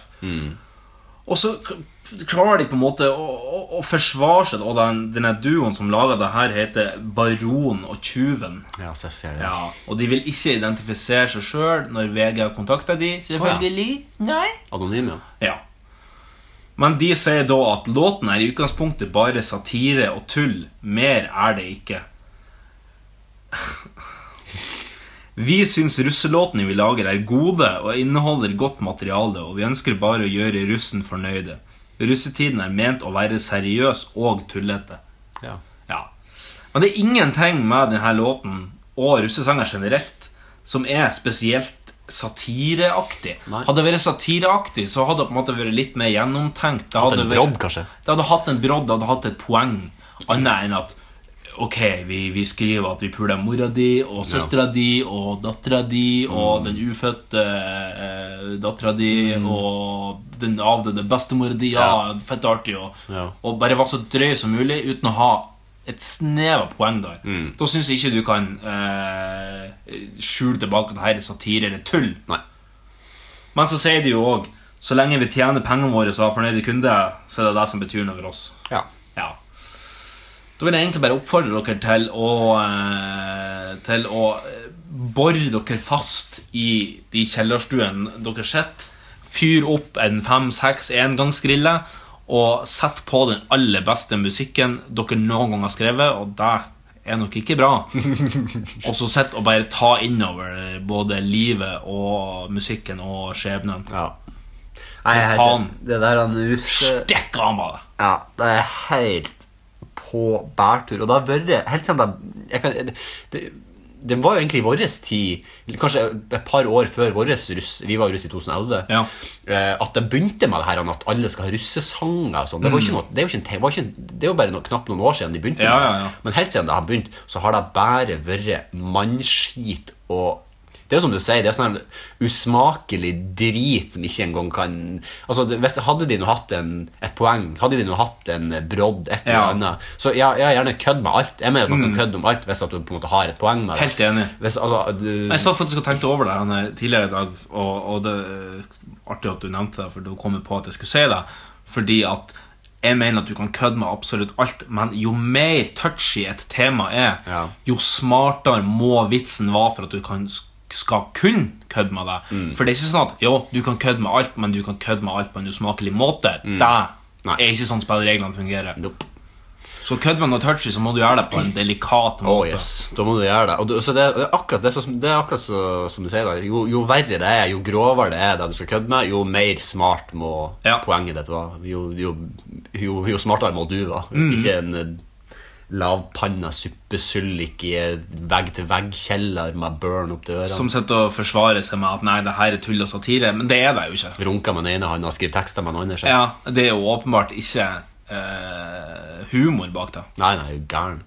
B: Og så k- klarer de på en måte å, å, å forsvare seg. Og den, denne duoen som lager det her, heter Baron og Tjuven.
C: *laughs* Ja, selvfølgelig.
B: Ja, og de vil ikke identifisere seg sjøl når VG har kontakta de, selvfølgelig. Nei.
C: Anonym, ja.
B: Ja. Men de sier da at låten er i utgangspunktet bare satire og tull. Mer er det ikke. Vi syns russelåtene vi lager er gode og inneholder godt materiale, og vi ønsker bare å gjøre russen fornøyde. Russetiden er ment å være seriøs og tullete.
K: Ja.
B: Men det er ingenting med denne låten og russesanger generelt som er spesielt satireaktig. Hadde det vært satireaktig, så hadde det på en måte vært litt mer gjennomtenkt. Det
K: Hatt
B: hadde
K: en
B: vært-
K: brodd, kanskje?
B: det hadde hatt en brodd, det hadde hatt et poeng. Annet enn at Ok, vi, vi skriver at vi puler mora di og søstera di og dattera di
K: Mm.
B: og den ufødte eh, dattera di og den avdøde bestemora di. Ja, fett artig. Og,
K: Ja.
B: og bare var så drøy som mulig uten å ha et snev av poeng der.
K: Mm.
B: Da syns jeg ikke du kan eh, skjule tilbake at det her er satire eller tull.
K: Nei.
B: Men så sier de jo òg så lenge vi tjener pengene våre og har fornøyde kunder, så er det det som betyr noe for oss.
K: Ja.
B: Ja. Da vil jeg egentlig bare oppfordre dere til å eh, Til å eh, bore dere fast i de kjellerstuene dere sitter. Fyr opp en fem-seks engangsgriller og sett på den aller beste musikken dere noen gang har skrevet, og det er nok ikke bra. og så sitt og bare ta innover både livet og musikken og skjebnen.
K: Ja.
B: Nei,
C: jeg-
B: faen.
C: Det der han russe...
B: Stikk av med det!
C: Ja, det er helt på bærtur. Og det har vært Helt siden jeg, jeg kan, det, det var jo egentlig vår tid, kanskje et par år før vår russ Vi var jo russ i 2011. eh, At det begynte med det her om at alle skal ha russesanger. og Sånn. Det, var ikke noe, det, er jo ikke en, te- var ikke en, det er jo bare noe, knapt noen år siden de
B: Mm.
C: begynte.
B: Ja,
C: med det.
B: ja, ja.
C: Men helt siden det har begynt, så har det bare vært mannskit og det er jo som du sier, det er sånn her usmakelig drit som ikke engang kan Altså, det- hvis, Hadde de nå hatt en, et poeng, hadde de nå hatt en brodd, et eller
B: Ja.
C: annet Så ja, ja, gjerne kødd med alt. Jeg mener at man
B: Mm.
C: kan kødde om alt hvis at du på en måte har et poeng med det.
B: Helt enig.
C: Hvis, altså, du,
B: Jeg satt faktisk og tenkte over det han her tidligere i dag, og, og det er artig at du nevnte det, for du kom jeg på at jeg skulle si det. Fordi at jeg mener at du kan kødde med absolutt alt, men jo mer touchy et tema er, jo smartere må vitsen være for at du kan, skal kunne kødde med det. For det er ikke sånn at jo, du kan kødde med alt, men du kan kødde med alt på en usmakelig måte. Det
K: Nei.
B: er ikke sånn spillereglene fungerer. Så kødd med noe touchy, så må du gjøre det på en delikat måte.
C: Oh, yes. Da må du gjøre det. Og du, så det, det er akkurat, det, er så, det er akkurat så, som du sier da. Jo, jo verre det er, jo grovere det er det du skal kødde med, jo mer smart må poenget ditt være. Jo, jo, jo, jo smartere må du være.
K: Mm.
C: Ikke en eh, lavpanna suppesyllik i vegg-til-vegg-kjeller med burn opp til ørene.
B: Som sitter og forsvarer seg med at nei, det her er tull og satire, men det er det jo ikke.
C: Runker med den ene hånda og skriver tekster med den andre.
B: Ja, Det er jo åpenbart ikke eh, humor bak det.
C: Nei, nei, er jo gæren.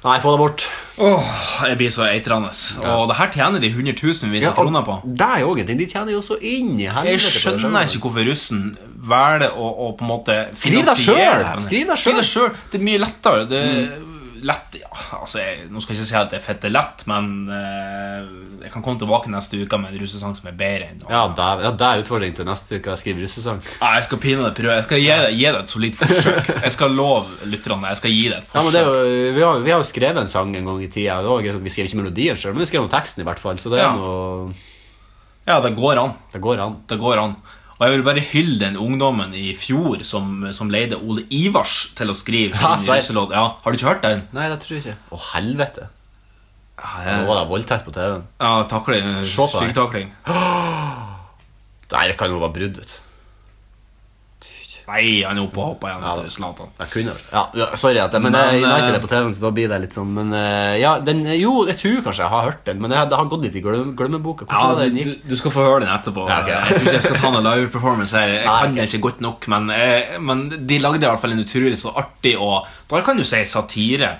C: Nei, få det bort.
B: Åh, jeg blir så eitrende. Og det her tjener de hundretusenvis av kroner på.
C: Det er jo egentlig, De tjener jo så inn i helvete.
B: Jeg
C: på det selv.
B: skjønner ikke hvorfor russen velger å, å på en måte
C: Skriv deg
B: finansiere
C: selv!
B: her.
C: Skriv deg Mm.
B: Skriv deg sjøl! Det er mye lettere. Det er lett ja, altså jeg, Nå skal jeg ikke si at det er fette lett, men eh, jeg kan komme tilbake neste uke med en russesang som er bedre enn
C: Ja, det er, ja, det er utfordring til neste uke å skrive russesang.
B: Nei, Ah, jeg skal pine deg prøve. Jeg skal gi deg, gi deg et solid forsøk. Jeg skal love lytterne jeg skal gi deg et
C: Ja, men
B: forsøk.
C: det er jo, vi, har, vi har jo skrevet en sang en gang i tida. Det var greit at Vi skrev ikke melodien sjøl, men vi skrev om teksten i hvert fall. Så det er
B: Ja.
C: noe
B: Ja, det går an.
C: Det går an.
B: Det går an. Og jeg vil bare hylle den ungdommen i fjor som, som leide Ole Ivars til å skrive
C: Ja,
B: sin
C: serr.
B: russelåt. Ja, har du ikke hørt den?
C: Nei, det tror jeg ikke. Eh. Å, helvete.
B: jeg-
C: Nå var det voldtekt på TV-en.
B: Ja, takling.
C: Se på deg.
B: Styggtakling.
C: Nei, det kan jo være brudd, vet du.
B: Nei, han er oppe og hopper igjen. vet du, Zlatan.
C: Det kunne vært. Ja, ja, sorry, at jeg, men,
B: Men,
C: jeg United
B: eh,
C: er på TV-en, så da blir det litt sånn Men eh, ja, den, jo, jeg tror kanskje jeg har hørt den, men jeg, det har gått litt i glem, glemmeboka.
B: Ja,
C: Hvordan var det
B: du,
C: den
B: du,
C: gikk?
B: du skal få høre den etterpå.
C: Ja, ok.
B: Jeg tror ikke jeg skal ta noen live performance her. Jeg
C: Nei,
B: kan det ikke godt nok, men, eh, men de lagde i hvert fall en utrolig så artig og Der kan du si satire.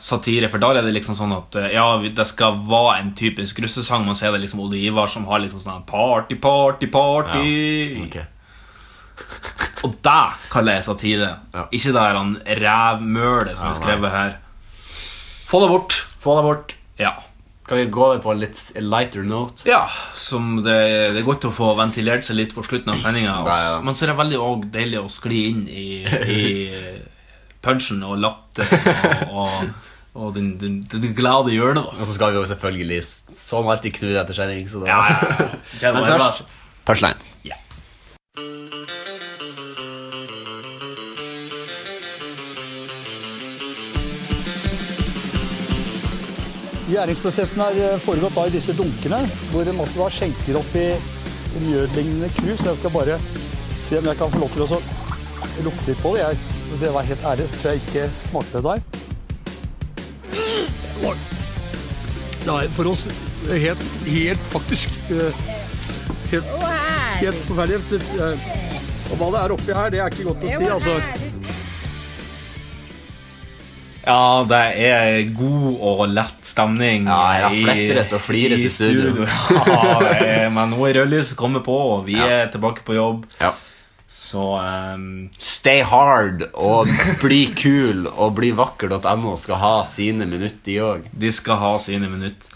B: Satire, For da er det liksom sånn at eh, ja, vi- det skal være en typisk russesang. Man ser det liksom Ole Ivar som har liksom sånn Party, party, party. Og det kaller jeg satire. Ikke det her han rævmølet som
C: Ja,
B: er skrevet her. Få det bort.
C: Få det bort.
B: Ja.
C: Kan vi gå over på en litt lighter note?
B: Ja, som det, det er godt å få ventilert seg litt på slutten av sendinga.
C: Det er det.
B: Men så er det veldig òg deilig å skli inn i, i punchen og latteren og, og, og den, den, det glade hjørnet. da.
C: Og så skal vi jo selvfølgelig, som alltid, knulle etter sending. Så da. *laughs*
B: ja.
C: Men først Punchline.
L: Gjæringsprosessen har eh, foregått da i disse dunkene, hvor de også da skjenker opp i en jødlignende krus. Jeg skal bare se om jeg kan få lov til å så lukte litt på det. Jeg, hvis jeg var helt ærlig, så tror jeg ikke smakte det der. Oi. Det er for oss helt, helt faktisk eh, helt, helt forferdelig. Det, eh, Og hva det er oppi her, det er ikke godt å si, altså.
B: Ja, det er god og lett stemning
C: Ja, det flettes og flires i studio.
B: *laughs* ja, det er- men nå er rødlyset kommet på, og vi er tilbake på jobb. Så ehm,
C: Stay hard og bli kul og bli vakker.no skal ha sine minutt, de òg.
B: De skal ha sine minutt.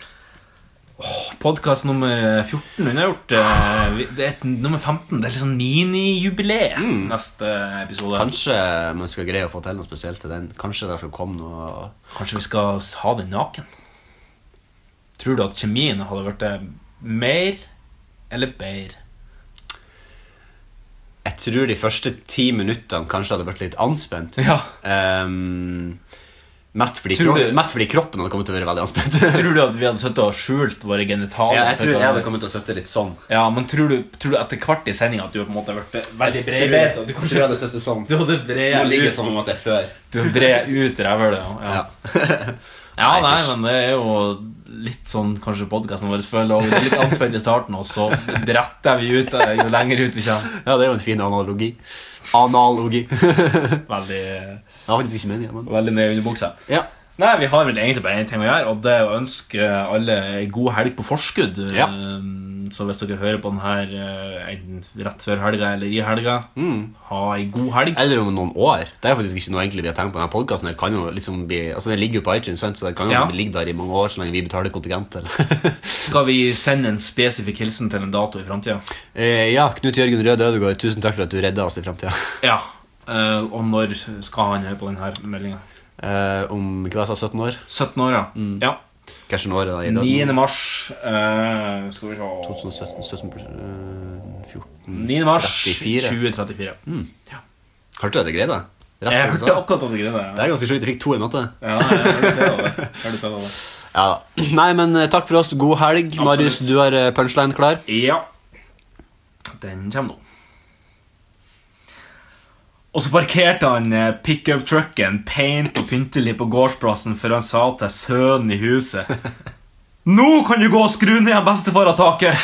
B: Podkast nummer 14 unnagjort. eh, vi- Det er et- nummer 15. Det er litt sånn minijubileet
C: Mm.
B: neste episode.
C: Kanskje man skal greie å få til noe spesielt til den. Kanskje det skal komme noe
B: Kanskje vi skal ha den naken? Tror du at kjemien hadde vært eh, mer eller bedre?
C: Jeg tror de første ti minuttene kanskje hadde vært litt anspent.
B: Ja.
C: Ehm, mest, fordi
B: Tror
C: kro-
B: du-
C: mest fordi kroppen hadde kommet til å være veldig anspent.
B: Tror du at vi hadde sittet og skjult våre genitaler?
C: *laughs* Ja, jeg tror jeg hadde kommet til å sitte litt sånn.
B: Ja, men tror du, tror du etter hvert i sendinga at du på en måte har vært veldig
C: Jeg
B: bred?
C: tror- jeg tror jeg hadde sittet sånn.
B: Du hadde breia
C: Nå
B: ut.
C: ligger jeg sånn om at jeg er før.
B: Du brer ut rævhølet, ja. Ja, ja nei, men det er jo litt sånn kanskje podkasten vår føler også. Det er litt anspent i starten, og så bretter vi ut eh, jo lenger ut vi kommer.
C: *laughs* Ja, det er jo en fin analogi. Analogi. *laughs*
B: Veldig
C: Jeg har faktisk ikke meningen, men
B: Veldig ned under buksa.
C: Ja.
B: Nei, vi har vel egentlig bare én ting å gjøre, og det er å ønske alle ei god helg på forskudd.
C: Ja.
B: Um, Så hvis dere hører på den her eh, enten rett før helga eller i helga,
C: Mm.
B: ha ei god helg.
C: Eller om noen år. Det er faktisk ikke noe egentlig vi har tenkt på. Denne podcasten her kan jo liksom bli, altså den ligger jo på iTunes, sant? så den kan jo
B: Ja.
C: ligge der i mange år så lenge vi betaler kontingent. eller? *laughs*
B: Skal vi sende en spesifikk hilsen til en dato i framtida?
C: Eh, ja, Knut Jørgen Rød Ødegård, tusen takk for at du redda oss i framtida. *laughs*
B: Ja. eh, og når skal han høre på denne meldinga?
C: Eh, om hva jeg sa, 17 år?
B: 17 år, ja. ja.
C: Kanskje noen år da, Mm. i dag.
B: 9. mars eh, Skal vi se
C: 2017, 17, eh, 14
B: 9. mars
C: 34.
B: 2034.
C: Mm. Hørte du det greia, da?
B: Jeg hørte akkurat om det greia.
C: Det er ganske sjukt. Jeg fikk to i matte.
B: Ja, jeg hørte selv om det. Jeg hørte selv om det.
C: Ja. Nei, men eh, takk for oss. God helg. Marius, du har eh, punchline klar?
B: Ja. Den kommer nå. Og så parkerte han eh, pickup-trucken pent og pyntelig på gårdsplassen før han sa til sønnen i huset *laughs* Nå kan du gå og skru ned bestefar av taket!